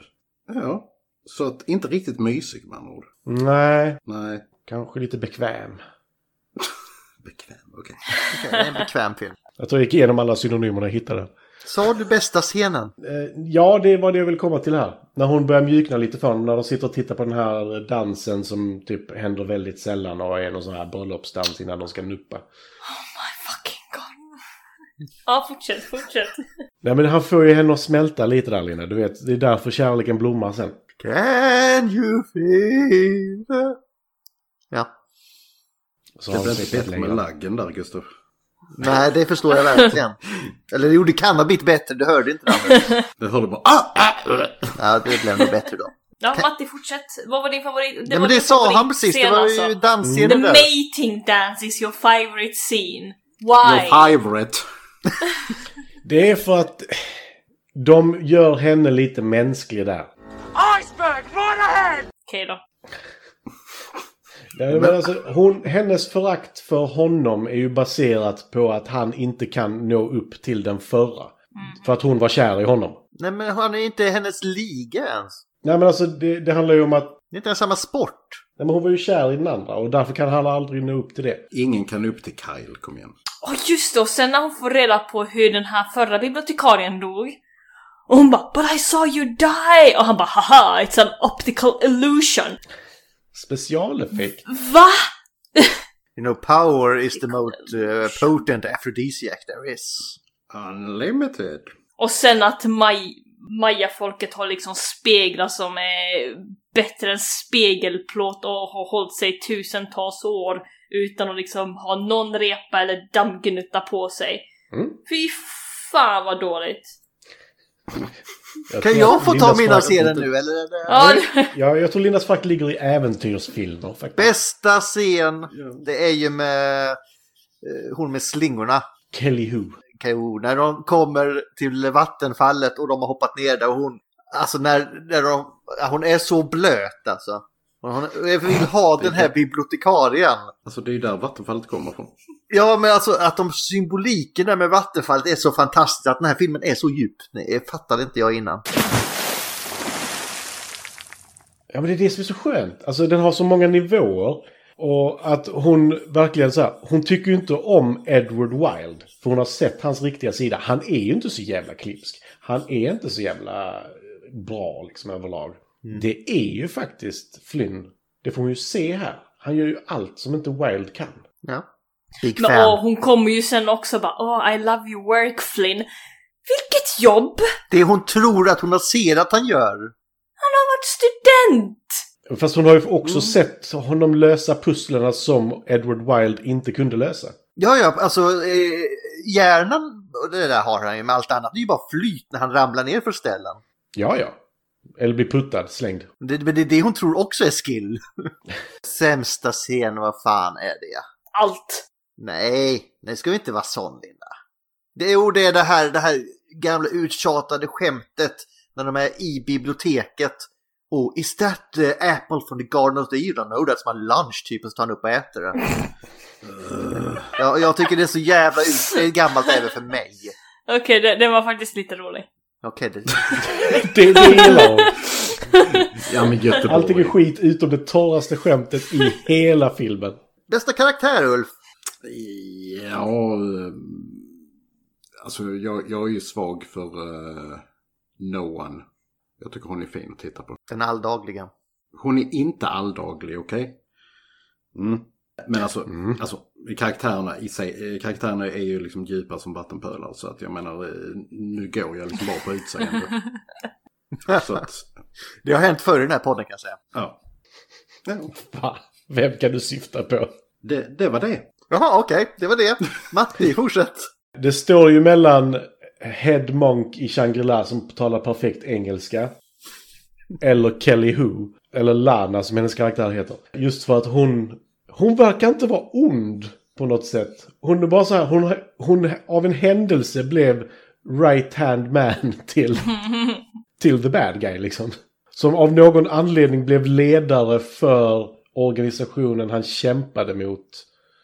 S4: Ja. Så att inte riktigt mysig med andra ord.
S3: Nej.
S4: Nej.
S3: Kanske lite bekväm.
S4: Okej.
S7: det är en bekväm film.
S3: Jag tror jag gick igenom alla synonymerna jag hittade.
S7: Sa du bästa scenen?
S3: Eh, Ja, det var det jag ville komma till här. När hon börjar mjukna lite för honom, när de sitter och tittar på den här dansen som typ händer väldigt sällan och är någon sån här bröllopsdans innan de ska nuppa.
S1: Ja, fortsätt, fortsätt.
S3: Nej men han får ju henne att smälta lite där Lina, du vet. Det är därför kärleken blommar sen.
S7: Can you feel the... Ja.
S3: Så
S4: det
S3: har
S4: blev
S3: vi
S4: inte
S3: sett
S4: bättre med
S3: längre.
S4: laggen där, Gustav.
S7: Nej, det förstår jag verkligen. Eller det gjorde Cannabit bättre, du hörde inte det.
S4: Det hörde bara... "Ah,
S7: Ja, det blev nog bättre då.
S1: Ja, Matti, fortsätt. Vad var din favorit?
S7: Ja, men
S1: var
S7: det
S1: din
S7: sa han
S1: favoritscen
S7: precis. Det var ju
S1: alltså.
S7: dansscenen
S1: The
S7: där.
S1: mating dance is your favorite scene. Why?
S4: favorite.
S3: Det är för att de gör henne lite mänsklig där.
S1: Iceberg, run ahead! Okej då.
S3: Nej, men alltså, hon, hennes förakt för honom är ju baserat på att han inte kan nå upp till den förra. För att hon var kär i honom.
S7: Nej, men han är inte i hennes liga ens.
S3: Nej men alltså det, det handlar ju om att...
S7: Det är inte ens samma sport.
S3: Nej men hon var ju kär i den andra och därför kan han aldrig nå upp till det.
S4: Ingen kan nå upp till Kyle, kom igen.
S1: Och just det, och sen när hon får reda på hur den här förra bibliotekarien dog. Och hon bara “But I saw you die!” och han bara “Haha, it's an optical illusion”.
S3: Specialeffekt.
S1: Va?
S7: You know, power is the most uh, potent aphrodisiac there is.
S4: Unlimited.
S1: Och sen att Maj, Maya-folket har liksom speglar som är bättre än spegelplåt och har hållit sig tusentals år utan att liksom ha någon repa eller dammgnutta på sig.
S3: Mm.
S1: Fy fan vad dåligt!
S3: Jag
S7: Kan
S3: tror
S7: jag
S3: att
S7: få ta
S3: Lindas
S7: mina
S3: förakt
S7: scener
S3: inte-
S7: nu eller?
S1: Ja,
S3: Ja, jag tror Lindas frakt ligger i äventyrsfilmer faktiskt.
S7: Bästa scen, det är ju med eh, hon med slingorna.
S3: Kelly Who.
S7: K.O. När de kommer till vattenfallet och de har hoppat ner där och hon, alltså när, när de, ja, hon är så blöt alltså. Och Hon jag vill ha den här bibliotekarien.
S4: Alltså det är ju där vattenfallet kommer från.
S7: Ja men alltså att de symboliken där med vattenfallet är så fantastisk, att den här filmen är så djup. Nej, det fattade inte jag innan.
S3: Ja, men det är det som är så skönt. Alltså den har så många nivåer. Och att hon verkligen så här, hon tycker ju inte om Edward Wilde. För hon har sett hans riktiga sida. Han är ju inte så jävla klipsk. Han är inte så jävla eh, bra liksom överlag. Det är ju faktiskt Flynn. Det får hon ju se här. Han gör ju allt som inte Wilde kan.
S7: Ja. Big
S1: Men, åh, hon kommer ju sen också bara “Oh, I love your work Flynn”. Vilket jobb!
S7: Det hon tror att hon har ser att han gör.
S1: Han har varit student!
S3: Fast hon har ju också sett honom lösa pusslerna som Edward Wilde inte kunde lösa.
S7: Ja, ja, alltså eh, hjärnan, och det där har han ju med allt annat, det är ju bara flyt när han ramlar ner för ställen.
S3: Ja, ja. Eller blir puttad, slängd.
S7: Det, men det är det hon tror också är skill. Sämsta scen, vad fan är det?
S1: Allt!
S7: Nej, nu ska vi inte vara sån Linda. Det, jo, det är det här, det här gamla uttjatade skämtet när de är i biblioteket. Oh, is that the apple from the garden of the Eden? No, that's my lunch, typ. Och så tar han upp och äter den. ja, jag tycker det är så jävla ut, det är gammalt även för mig.
S1: Okej, det, det var faktiskt lite rolig.
S7: Okej, det...
S3: Det är det jag la av.
S4: Ja, men Göteborg.
S3: Allting är skit utom det torraste skämtet i hela filmen.
S7: Bästa karaktär, Ulf?
S4: Ja, eh, alltså jag, jag är ju svag för eh, No One. Jag tycker hon är fin att titta på.
S7: Den alldagliga.
S4: Hon är inte alldaglig, okej? Mm. Men alltså, alltså karaktärerna i sig, eh, karaktärerna är ju liksom djupa som vattenpölar. Så att jag menar, eh, nu går jag liksom bara på utseende. så att,
S7: Det har hänt förr i den här podden kan jag säga.
S4: ja.
S3: Va? Vem kan du syfta på?
S4: Det, det var det.
S7: Jaha, okej, det var det. Matti, fortsätt.
S3: Det står ju mellan Head Monk i Shangri-La som talar perfekt engelska. Eller Kelly Who. Eller Lana som hennes karaktär heter. Just för att hon... Hon verkar inte vara ond på något sätt. Hon är bara så här, hon, hon av en händelse blev right-hand man till, till the bad guy liksom. Som av någon anledning blev ledare för organisationen han kämpade mot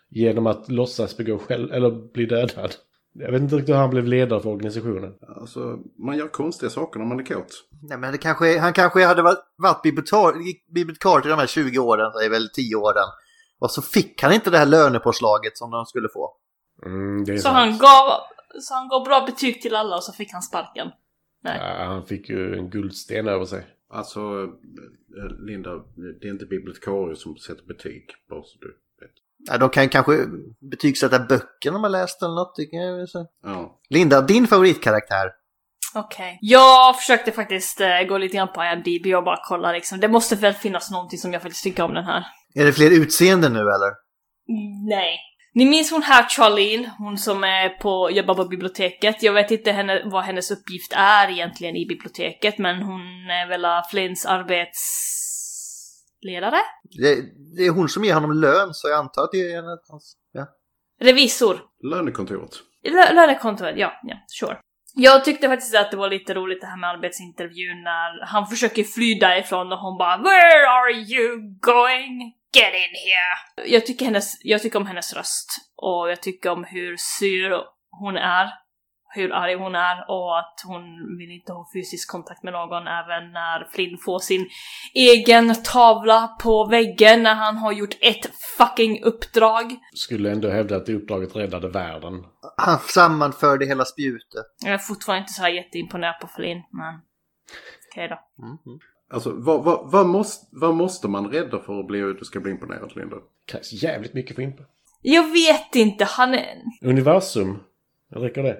S3: genom att låtsas begå själv eller bli dödad. Jag vet inte riktigt hur han blev ledare för organisationen.
S4: Alltså, man gör konstiga saker när man är kåt.
S7: Nej, men det kanske, han kanske hade varit, varit bibliotekar- bibliotekarie de här 20 åren, det är väl 10 åren. Och så fick han inte det här lönepåslaget som de skulle få.
S3: Mm, det
S1: Så han gav Så han gav bra betyg till alla och så fick han sparken.
S3: Ja, han fick ju en guldsten över sig.
S4: Alltså, eh, Linda, det är inte bibliotekarier som sätter betyg, bara så du vet.
S7: Ja, de kan kanske betygsätta böckerna man läst eller något. det kan jag väl säga.
S4: Ja.
S7: Linda, din favoritkaraktär?
S1: Okej. Jag försökte faktiskt eh, gå lite grann på IMDB och bara kolla liksom. Det måste väl finnas någonting som jag faktiskt tycker om den här.
S7: Är det fler utseenden nu eller?
S1: Nej. Ni minns hon här Charlene, hon som är på, jobbar på biblioteket. Jag vet inte henne, vad hennes uppgift är egentligen i biblioteket, men hon är väl eh, Flynns arbetsledare?
S7: Det, det är hon som ger honom lön så jag antar att det är en... hans- Ja.
S1: Revisor.
S4: Lönekontoret.
S1: Lö- Lönekontoret, ja, ja, sure. Jag tyckte faktiskt att det var lite roligt det här med arbetsintervjun när han försöker fly därifrån och hon bara “Where are you going? Get in here!” jag tycker, hennes, jag tycker om hennes röst och jag tycker om hur sur hon är, hur arg hon är och att hon vill inte ha fysisk kontakt med någon även när Flynn får sin egen tavla på väggen när han har gjort ett fucking uppdrag.
S3: Skulle ändå hävda att det uppdraget räddade världen.
S7: Han sammanförde hela spjutet.
S1: Jag är fortfarande inte så här jätteimponerad på Flynn, men okej då.
S4: Alltså, vad, vad, vad, måste, vad måste man rädda för att bli, du ska bli imponerad, Linda?
S3: Krävs jävligt mycket för imp.
S1: Jag vet inte, han är...
S3: Universum. Räcker det?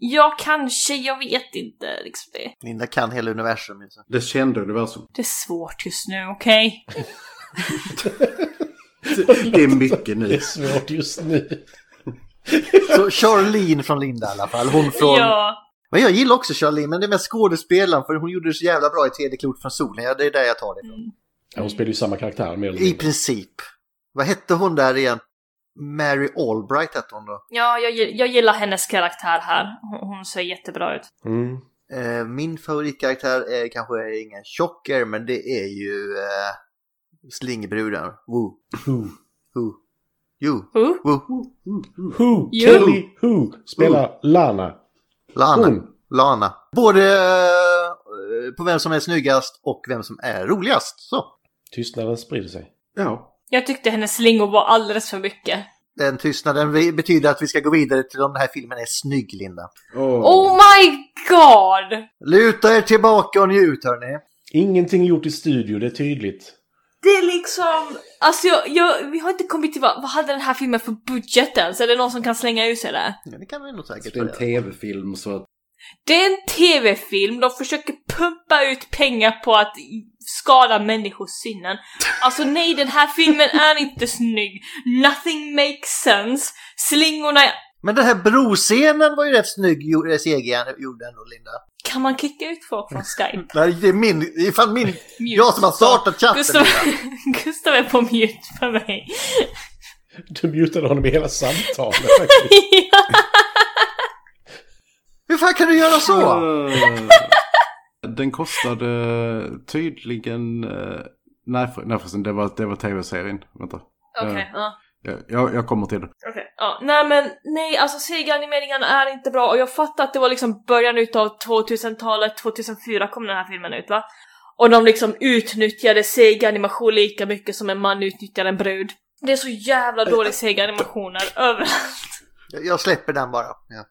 S1: Ja, kanske, jag vet inte liksom det.
S7: Linda kan hela universum. ju, så.
S4: Det kända universum.
S1: Det är svårt just nu, okej?
S4: Det är mycket nu.
S3: Det är svårt just nu.
S7: Så Charlene från Linda i alla fall. Hon från...
S1: Ja.
S7: Men jag gillar också Charlene, men det är mest skådespelaren för hon gjorde det så jävla bra i Tredje klotet från solen. Ja, det är där jag tar det ifrån.
S3: Ja, hon spelar ju samma karaktär mer eller
S7: I
S3: mindre.
S7: princip. Vad hette hon där igen? Mary Albright hette hon då.
S1: Ja, jag, gi- jag gillar hennes karaktär här. Hon, hon ser jättebra ut.
S3: Mm.
S7: Eh, Min favoritkaraktär är kanske ingen tjocker, men det är ju eh, slingbruden. Woo.
S3: Who?
S7: Who? You.
S1: Who?
S7: Who?
S3: Who?
S1: You.
S3: Kelly Who? Spelar Lana.
S7: Lana.
S3: Hon.
S7: Lana. Både eh, på vem som är snyggast och vem som är roligast. Så.
S3: Tystnaden sprider sig.
S4: Ja.
S1: Jag tyckte hennes slingor var alldeles för mycket.
S7: Den tystnaden vi- betyder att vi ska gå vidare till om den här filmen är snygg, Linda.
S1: Oh my god!
S7: Luta er tillbaka och njut, hörni.
S3: Ingenting gjort i studio, det är tydligt.
S1: Det är liksom... Alltså jag, jag, vi har inte kommit till vad, vad hade den här filmen för budget ens? Är det någon som kan slänga ur sig det?
S7: Ja, det kan vi nog säkert
S4: Det är en tv-film så att...
S1: Det är en TV-film, de försöker pumpa ut pengar på att skada människors sinnen. Alltså nej, den här filmen är inte snygg. Nothing makes sense. Slingorna...
S7: Men den här broscenen var ju rätt snygg, gjorde- CG gjorde ändå, Linda.
S1: Kan man kicka ut folk från Skype?
S7: Nej, det är min, det är fan min, jag som har startat chatten.
S1: Gustav, Gustav är på mute för mig.
S3: Du mutade honom i hela samtalet faktiskt.
S7: Hur fan kan du göra
S4: Mm.
S7: så?
S4: Eh, Den kostade tydligen... eh, Nej, för- nej förresten, det var, det var tv-serien. Vänta.
S1: Okej,
S4: Eh,
S1: ja.
S4: jag- jag, jag kommer till det.
S1: Okej. Ja, nej men nej, alltså CG-animeringen är inte bra och jag fattar att det var liksom början utav 2000-talet, 2004 kom den här filmen ut va? Och de liksom utnyttjade CG-animation lika mycket som en man utnyttjar en brud. Det är så jävla dåliga CG-animationer överallt.
S7: Jag- Jag släpper den bara. Ja.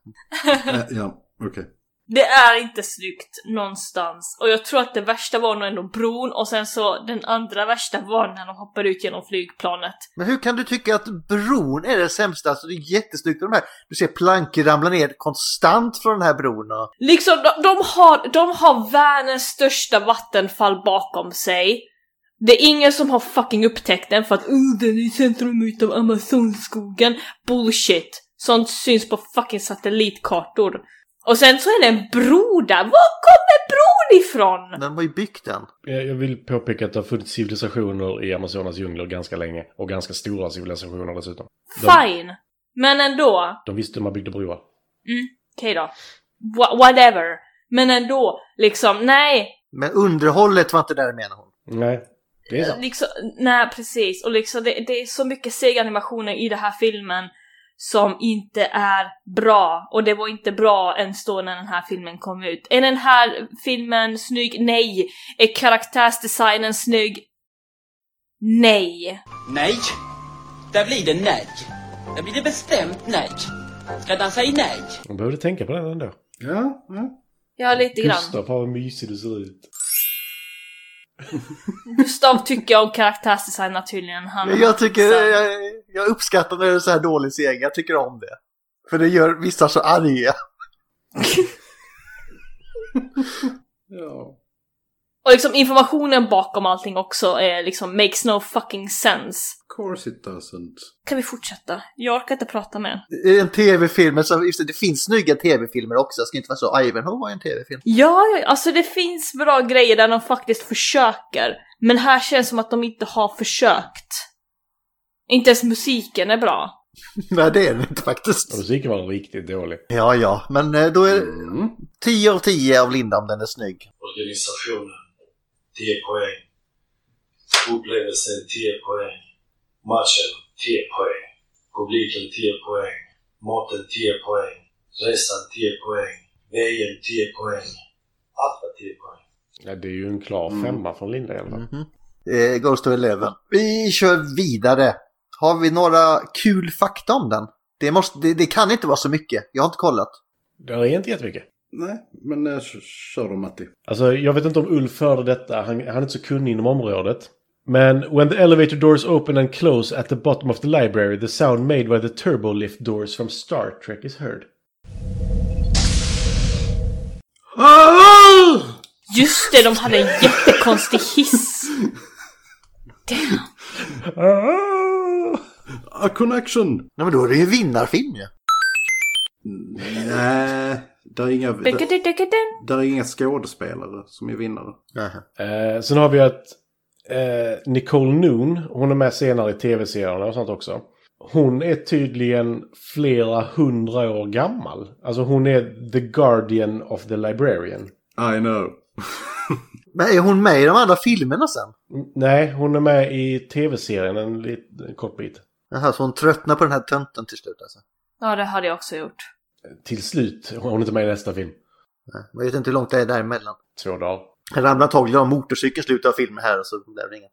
S4: Eh, ja, okej.
S1: Det är inte snyggt någonstans. Och jag tror att det värsta var nog ändå bron och sen så den andra värsta var när de hoppar ut genom flygplanet.
S7: Men hur kan du tycka att bron är det sämsta? Alltså det är jättesnyggt med de här. Du ser plankor ramla ner konstant från den här bron. Och...
S1: Liksom, de, de, har, de har världens största vattenfall bakom sig. Det är ingen som har fucking upptäckt den för att uh, den är i centrum utav Amazonskogen. Bullshit! Sånt syns på fucking satellitkartor. Och sen så är det en bro där. Var kommer bron ifrån?
S7: Den var ju byggt den.
S3: Jag jag vill påpeka att det har funnits civilisationer i Amazonas djungler ganska länge. Och ganska stora civilisationer dessutom. De,
S1: Fine. Men ändå.
S3: de visste hur man byggde broar.
S1: Okej då. Wha- whatever. Men ändå, liksom, nej.
S7: Men underhållet var inte där menar hon.
S3: Nej, det är sant.
S1: Liksom, nej, precis. Och liksom, det, det är så mycket CG-animationer i den här filmen som inte är bra. Och det var inte bra ens då när den här filmen kom ut. Är den här filmen snygg? Nej! Är karaktärsdesignen snygg? Nej.
S19: Nej! Där blir det nej. Där blir det bestämt nej. Skräddaren säger nej.
S3: Jag behövde tänka på den ändå.
S4: Ja, ja.
S1: Ja, lite grann.
S3: Gustav, fan vad mysig du ser ut.
S1: Gustav tycker om karaktärsdesign naturligen. Han,
S7: Jag, tycker, jag, jag uppskattar när det är så här dålig seger, jag tycker om det. För det gör vissa så arga.
S4: Ja.
S1: Och liksom informationen bakom allting också är liksom makes no fucking sense.
S4: Of course it doesn't.
S1: Kan vi fortsätta? Jag orkar inte prata mer.
S7: Det är en tv-film, men så- just det, det finns snygga tv-filmer också. Jag ska inte vara så, Ivanhoe var ju en tv-film.
S1: Ja, ja, alltså det finns bra grejer där de faktiskt försöker. Men här känns det som att de inte har försökt. Inte ens musiken är bra.
S7: Nej, det är det inte faktiskt.
S3: Musiken var riktigt dålig.
S7: Ja, ja, men eh, då är
S4: Mm.
S7: det 10 av 10 av Linda om den är snygg.
S2: Organisationen 10 poäng. Upplevelsen 10 poäng. Matchen 10 poäng. Publiken 10 poäng. Maten 10 poäng. Resan 10 poäng. Vägen 10 poäng. Allt var 10 poäng.
S3: Ja, det är ju en klar femma från Linda i alla fall.
S7: Eh, Goes to Eleven. Vi kör vidare. Har vi några kul fakta om den? Det, måste, det, det kan inte vara så mycket. Jag har inte kollat.
S3: Det är inte jättemycket.
S4: Nej, men eh, k- kör då Matti.
S3: Alltså, jag vet inte om Ulf hörde detta. Han, han är inte så kunnig inom området. Men when the elevator doors open and close at the bottom of the library the sound made by the turbo lift doors from Star Trek is heard.
S1: Just det, de hade en jättekonstig hiss.
S4: A connection!
S7: Nej, men då är det ju en vinnarfilm ju. Ja.
S4: Nej, där är inga, där,
S1: Dickedidickedin.
S4: där är inga skådespelare som är vinnare.
S3: Eh, sen har vi att eh, Nicole Noon, hon är med senare i tv-serierna och sånt också. Hon är tydligen flera hundra år gammal. Alltså hon är the guardian of the librarian.
S4: I know.
S7: Men är hon med i de andra filmerna sen?
S3: Nej, hon är med i tv-serien en, lit- en kort bit.
S7: Jaha, så hon tröttnar på den här tönten till slut alltså.
S1: Ja, det hade jag också gjort.
S3: Till slut, hon är inte med i nästa film.
S7: Nej, Jag vet inte hur långt det är däremellan.
S3: Två dagar.
S7: Jag ramlar antagligen av motorcykeln i slutet av filmen här så det blir inget.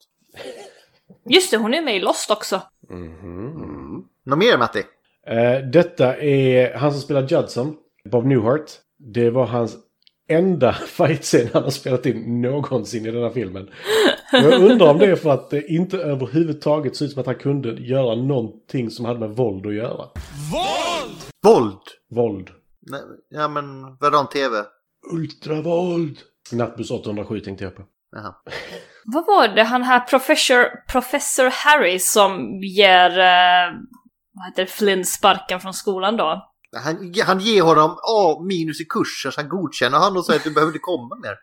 S1: Just det, hon är med i Lost också.
S3: Mhm.
S7: Något mer Matti?
S3: Eh, detta är han som spelar Judson, Bob Newhart. Det var hans enda fightscen han har spelat in någonsin i den här filmen. Och jag undrar om det är för att det inte överhuvudtaget ser ut som att han kunde göra någonting som hade med våld att göra.
S7: Våld!
S3: Våld.
S7: Nej, ja men, veran-tv.
S3: Ultravåld! Nattbuss 807 tänkte jag på.
S7: Jaha.
S1: Vad var det han här professor, professor Harry som ger... Eh, vad heter det? Flynn sparken från skolan då?
S7: Han, han ger honom A minus i kursen så han godkänner han och säger att du behöver inte komma mer.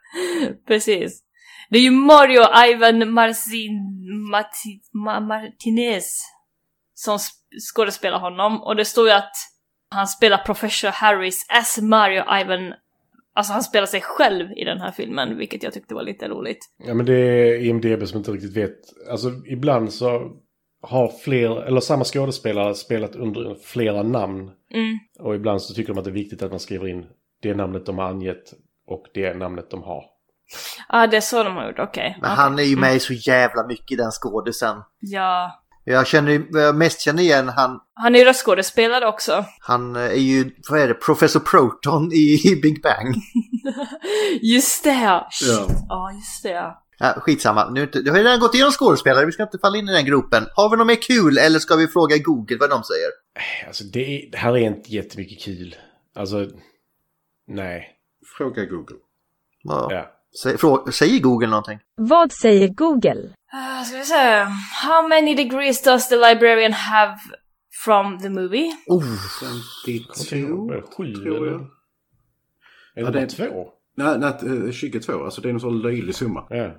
S1: Precis. Det är ju Mario Ivan Marcin, Marti, Ma, Martinez som sp- skådespelar honom och det står ju att han spelar Professor Harris as Mario Ivan Alltså han spelar sig själv i den här filmen, vilket jag tyckte var lite roligt.
S3: Ja men det är IMDB som inte riktigt vet. Alltså ibland så har fler, eller samma skådespelare spelat under flera namn.
S1: Mm.
S3: Och ibland så tycker de att det är viktigt att man skriver in det namnet de har angett och det namnet de har.
S1: Ah, det är så de har gjort, okej.
S7: Men
S1: Okej.
S7: han är ju med
S1: Mm.
S7: i så jävla mycket i den skådisen.
S1: Ja.
S7: Jag känner ju- vad jag mest känner igen han,
S1: Han är ju röstskådespelare också.
S7: han är ju, vad är det, Professor Proton i i Big Bang.
S1: Just det! Ja,
S7: Ja.
S1: Ja, just det ja.
S7: Ja, skitsamma, nu, är inte- du har ju redan gått igenom skådespelare, vi ska inte falla in i den gropen. Har vi något mer kul eller ska vi fråga Google vad de säger?
S3: Alltså det, är, det här är inte jättemycket kul. Alltså, nej.
S4: Fråga Google.
S7: Ja.
S3: Ja.
S7: Sä- frå- Säger Google någonting?
S20: Vad säger Google?
S1: Uh, ska vi se. How many degrees does the librarian have from the movie?
S7: Oh!
S4: 52, tror jag.
S3: Är det bara två?
S4: Nej, nej, eh, 22. Alltså det är en sån löjlig summa.
S3: Ja.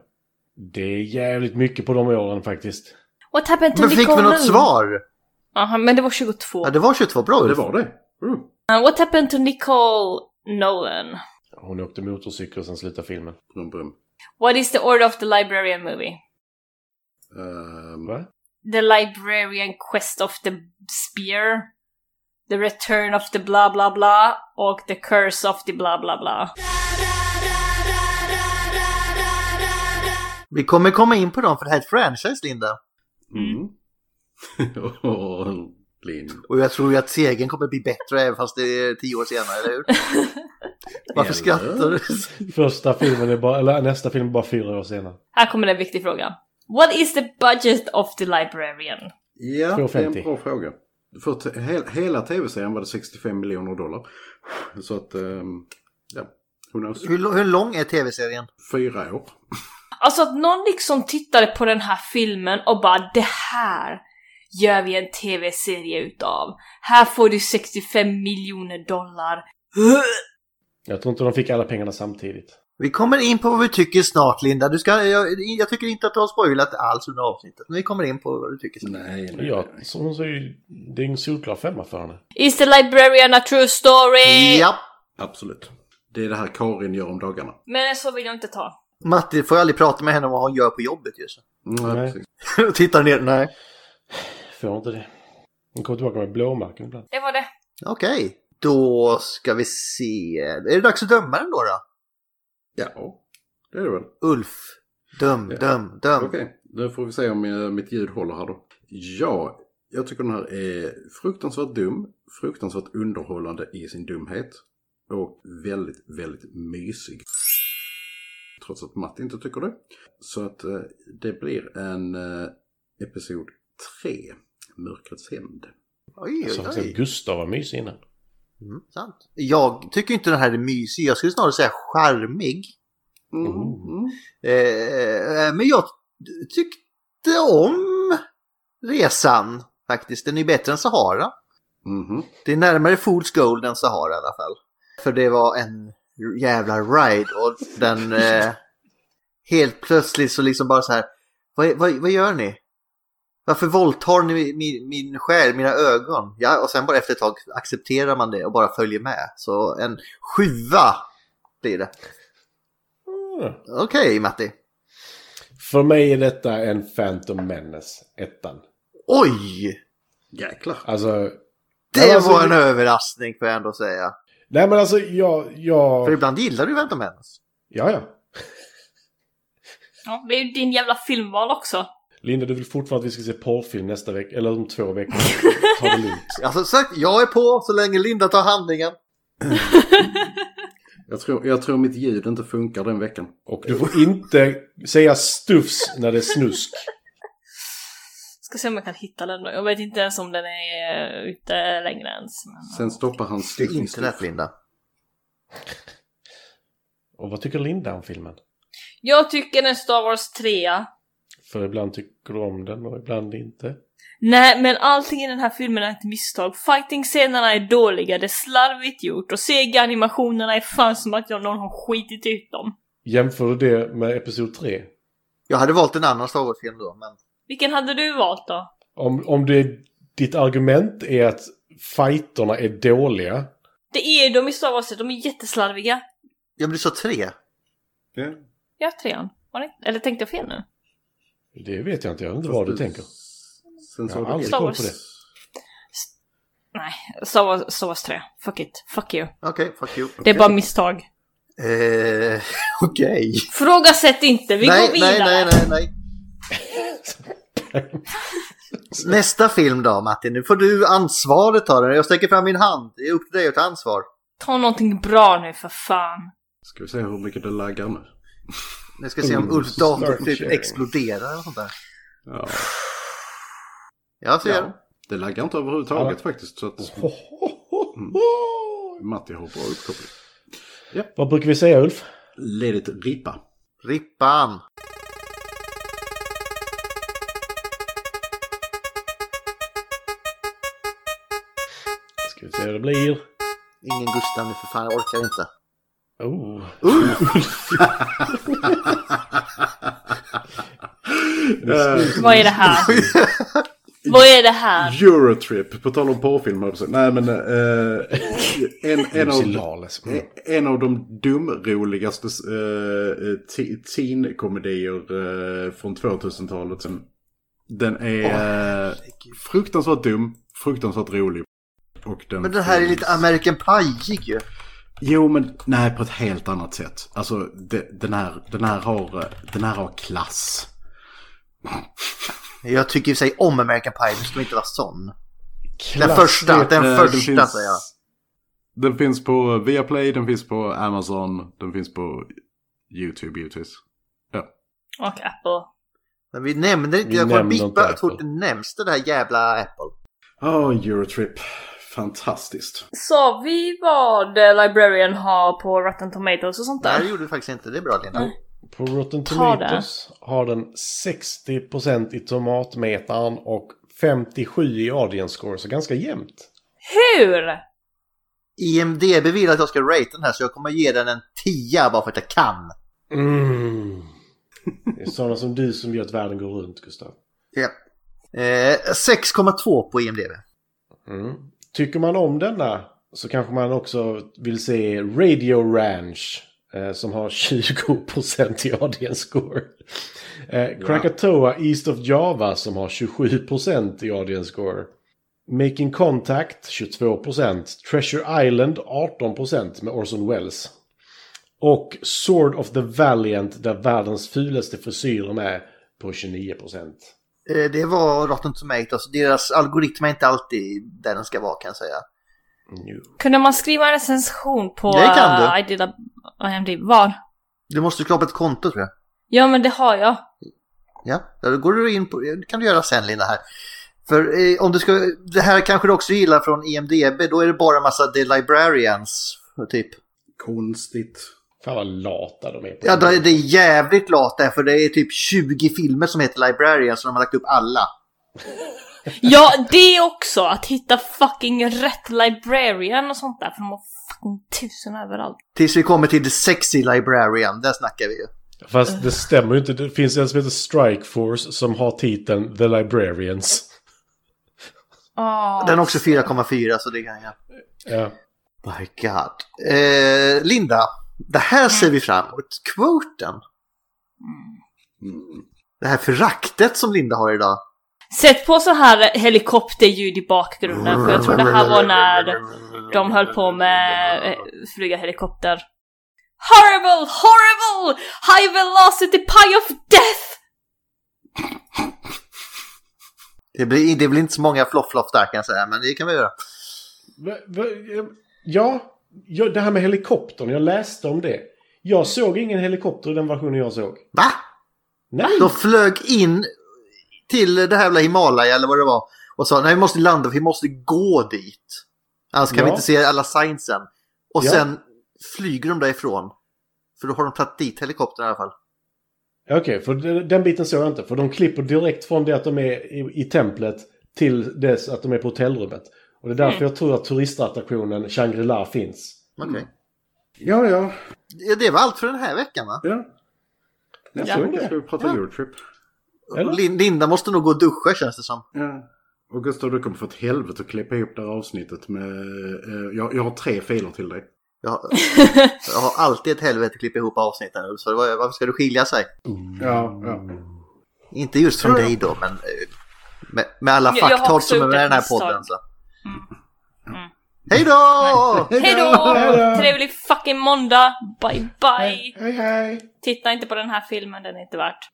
S3: Det är jävligt mycket på de åren faktiskt.
S1: What happened to
S7: Men fick vi
S1: Nicole
S7: något
S1: Noon?
S7: svar?
S1: Aha, men det var 22.
S7: Ja, det var 22, bra
S4: Det var det. Oh.
S1: Uh, what happened to Nicole Nolan?
S3: Hon åkte motorcykel och sen slutade filmen.
S4: Brum, brum.
S1: What is the order of the librarian movie?
S4: Ehm,
S3: Va?
S1: The librarian quest of the spear? The return of the bla bla bla? Och the curse of the bla bla bla?
S7: Vi kommer komma in på dem för det här är ett franchise, Linda.
S4: Mm. Åh, Linda.
S7: Och jag tror ju att segern kommer bli bättre även fast det är tio år senare, eller hur? Varför skrattar du?
S3: Första filmen är bara, eller nästa film är bara fyra år senare.
S1: Här kommer en viktig fråga. What is the budget of the librarian?
S4: Ja, det är
S3: 2,50.
S4: en bra fråga. För att he- hela tv-serien var det 65 miljoner dollar. Så att, ehm, ja, who knows.
S7: Hur, lo- hur lång är tv-serien?
S4: Fyra år.
S1: Alltså att någon liksom tittade på den här filmen och bara det här gör vi en TV-serie utav. Här får du 65 miljoner dollar.
S3: Jag tror inte de fick alla pengarna samtidigt.
S7: Vi kommer in på vad vi tycker snart, Linda. Du ska, jag, jag tycker inte att du har spoilat alls under avsnittet. Men vi kommer in på vad du tycker snart.
S4: Nej,
S3: Ja, så hon säger ju... Det är en solklar femma för henne.
S1: Is the librarian a true story?
S4: Absolut. Det är det här Karin gör om dagarna.
S1: Men så vill jag inte ta.
S7: Matti får aldrig prata med henne om vad hon gör på jobbet just
S4: Nej.
S7: nu. Tittar ner, nej.
S3: Får inte det. Hon kommer tillbaka med blåmärken ibland.
S1: Det var det.
S7: Okej, då ska vi se. Är det dags att döma den då? då?
S4: Ja, det är det väl.
S7: Ulf, döm, döm, döm.
S4: Okej, då får vi se om eh, mitt ljud håller här då. Ja, jag tycker den här är fruktansvärt dum, fruktansvärt underhållande i sin dumhet och väldigt, väldigt mysig. Trots att Matt inte tycker det. Så att eh, det blir en eh, episod 3, Mörkrets hämnd.
S7: Oj,
S3: Alltså,
S7: oj,
S3: fast
S7: oj.
S3: Gustav var mysig innan.
S7: Sant. Jag tycker inte den här är mysig. Jag skulle snarare säga charmig. Eh, men jag tyckte om resan faktiskt. Den är bättre än Sahara.
S4: Mhm.
S7: Det är närmare Fools Gold än Sahara i alla fall. För det var en jävla ride och den eh, helt plötsligt så liksom bara så här. Vad, vad, vad gör ni? Varför våldtar ni min, min själ, mina ögon? Ja, och sen bara efter ett tag accepterar man det och bara följer med. Så en sjua blir det.
S3: Mm.
S7: Okej, Matti.
S3: För mig är detta en Phantom Menace, ettan.
S7: Oj!
S4: Jäklar.
S3: Alltså...
S7: Det
S3: alltså,
S7: var en överraskning får jag ändå säga.
S3: Nej men alltså jag... jag...
S7: För ibland gillar du Phantom Menace.
S3: Ja, ja.
S1: Ja, det är ju din jävla filmval också.
S3: Linda, du vill fortfarande att vi ska se porrfilm nästa vecka, eller om två veckor. Ta det lugnt.
S7: Alltså sagt, jag är på så länge Linda tar handlingen.
S4: Jag tror, jag tror mitt ljud inte funkar den veckan.
S3: Och du får inte säga stufs när det är snusk.
S1: Ska se om jag kan hitta den då. Jag vet inte ens om den är eh, ute längre ens. Men...
S4: Sen stoppar han
S7: internet, Linda.
S3: Och vad tycker Linda om filmen?
S1: Jag tycker den är Star Wars 3
S3: För ibland tycker du om den och ibland inte.
S1: Nej, men allting i den här filmen är ett misstag. Fighting-scenerna är dåliga, det är slarvigt gjort och CG-animationerna är fan som att jag någon har skitit ut dem.
S3: Jämför du det med Episod 3?
S7: Jag hade valt en annan Star Wars-film då, men...
S1: Vilken hade du valt då?
S3: Om, om det är, ditt argument är att fighterna är dåliga.
S1: Det är ju de i Star Wars, de är jätteslarviga.
S7: Jag blir så tre.
S1: Ja, trean. Var det? Eller tänkte jag fel nu?
S3: Det vet jag inte, jag vet inte vad du tänker.
S4: Sen
S3: Jag
S4: sa
S3: har
S4: du
S3: aldrig
S1: Star
S3: koll
S1: Wars.
S3: på det.
S1: Nej, Star Wars, Star Wars 3. Fuck it. Fuck you.
S7: Okej, fuck you.
S1: Det är bara misstag.
S7: Eh, Okej.
S1: Frågasätt inte, vi
S7: Nej,
S1: går
S7: nej,
S1: vidare!
S7: nej, nej, nej. Nästa film då, Martin. Nu får du ansvaret ta den. Jag sträcker fram min hand. Det är upp till dig att ta ansvar.
S1: Ta någonting bra nu för fan.
S4: Ska vi se hur mycket det laggar nu?
S7: Nu ska jag se
S1: Mm,
S7: om Ulf dator typ exploderar eller sånt där.
S4: Ja.
S7: Jag ser.
S4: Ja, det laggar inte överhuvudtaget
S3: Ja.
S4: faktiskt. Så att... mm. Matti har bra uppkoppling.
S3: Vad brukar vi säga Ulf?
S4: Ledigt ripa.
S7: Rippan!
S3: Ska vi se hur det blir.
S7: Ingen Gustav nu för fan, jag orkar inte.
S3: Oh.
S4: Eh,
S1: Vad är det här? Vad är det här?
S4: Eurotrip, på tal om porrfilm höll jag på att säga. Nej men... Eh, en, en, av, eh,
S3: Musilales.
S4: en av de dumroligaste eh, te- teen-komedier eh, från 2000-talet. Den är eh, fruktansvärt dum, fruktansvärt rolig. Och den
S7: Men det här är
S4: finns-
S7: lite American Pie ju.
S4: Jo, men nej, på ett helt annat sätt. Alltså, det, den, här, den, här har, eh, den här har klass.
S2: Jag tycker i och för sig om American Pie, men det ska inte vara sån. den
S4: Klass,
S2: första,
S4: vet,
S2: den
S4: eh,
S2: första
S4: den finns-
S2: säger jag.
S4: Den finns på Viaplay, den finns på Amazon, den finns på YouTube givetvis. Ja.
S1: Och Apple.
S2: Men vi nämnde inte,
S4: Vi
S2: jag kommer
S4: nämnde
S2: bippa,
S4: inte
S2: jag tror inte nämns det där jävla Apple.
S4: Åh, Eurotrip. Fantastiskt.
S1: Sa vi vad eh, Librarian har på Rotten Tomatoes och sånt där?
S3: Nej, det
S2: gjorde vi faktiskt inte. Det är bra, Lena.
S3: På Rotten
S1: Ta det.
S3: Tomatoes har den 60% i tomatmetaren och 57 i audience score, så ganska jämnt.
S1: Hur?
S2: IMDB vill att jag ska rate den här så jag kommer ge den en 10 bara för att jag kan.
S3: Mm. Det är sådana som du som gör att världen går runt, Gustav.
S2: Ja. Eh, 6,2 på IMDB.
S3: Mm. Tycker man om denna så kanske man också vill se Radio Ranch eh, som har 20% i audience score. Eh, Krakatoa East of Java som har 27% i audience score. Making Contact 22%. Treasure Island 18% med Orson Welles. Och Sword of the Valiant där världens fulaste frisyrer med på 29%.
S2: Eh, det var Rotten Tomatoes. Deras algoritm är inte alltid där den ska vara kan jag säga.
S1: Kunde man skriva en recension på
S2: Det kan du.
S1: eh, I did a, IMDb? Var?
S2: Du måste skapa ett konto tror jag.
S1: Ja men det har jag.
S2: Ja, ja, då går du in på, det kan du göra sen Linda här. För eh, om du ska, det här kanske du också gillar från IMDB, då är det bara en massa The Librarians, typ.
S4: Konstigt.
S3: Fan vad lata de är på
S2: Ja, då är det är jävligt lat där, för det är typ 20 filmer som heter Librarians, och de har lagt upp alla.
S1: Ja, det också! Att hitta fucking rätt librarian och sånt där, för de har fucking tusen överallt.
S2: Tills vi kommer till The Sexy Librarian, där snackar vi ju.
S3: Fast det stämmer ju inte. Det finns en som heter Strike Force som har titeln The Librarians.
S1: Ah.
S2: Den är också 4,4 så det kan jag.
S3: Ja.
S2: My God. Eh, Linda, det här ser vi fram emot. Kvoten. Det här föraktet som Linda har idag.
S1: Sätt på så här helikopterljud i bakgrunden, för jag tror det här var när de höll på med eh, flyga helikopter. Horrible, horrible! High velocity pie of death!
S2: Det blir, det blir inte så många floff-floff där kan jag säga, men det kan vi göra.
S3: Va- va- Ja, ja, det här med helikoptern. Jag läste om det. Jag såg ingen helikopter i den versionen jag såg.
S2: Va?
S3: Nej!
S2: De flög in till det här jävla Himalaya eller vad det var och sa nej vi måste landa för vi måste gå dit. Annars kan vi
S3: Ja.
S2: inte se alla signsen. Och
S3: Ja.
S2: sen flyger de därifrån. För då har de tagit dit helikoptern i alla fall.
S3: Okej, för den- den biten såg jag inte. För de klipper direkt från det att de är i, i templet till dess att de är på hotellrummet. Och det är därför
S2: Mm.
S3: jag tror att turistattraktionen Shangri-La finns.
S2: Okej.
S4: Ja, ja.
S2: Ja, Det var allt för den här veckan va?
S4: Ja. Nästa
S2: Ja.
S4: vecka ska vi prata
S2: Ja.
S4: Eurotrip.
S2: Lin- Linda måste nog gå och duscha känns det som.
S4: Ja. Och Gustav, du kommer få ett helvete att klippa ihop det här avsnittet med... eh, jag, jag har tre filer till dig.
S2: Jag, jag har alltid ett helvete att klippa ihop avsnitten. Så var- varför ska du skilja sig?
S4: Ja, ja.
S2: Inte just från
S4: Ja, ja.
S2: dig då men eh, med, med alla
S1: Jag- jag har
S2: facktal
S1: också
S2: som är med
S1: gjort
S2: i
S1: ett
S2: den här
S1: misstag. Mm.
S2: podden. Så. Hej då!
S1: Hej då! Trevlig fucking måndag! Bye bye!
S3: Hej hej!
S1: Titta inte på den här filmen, den är inte värt.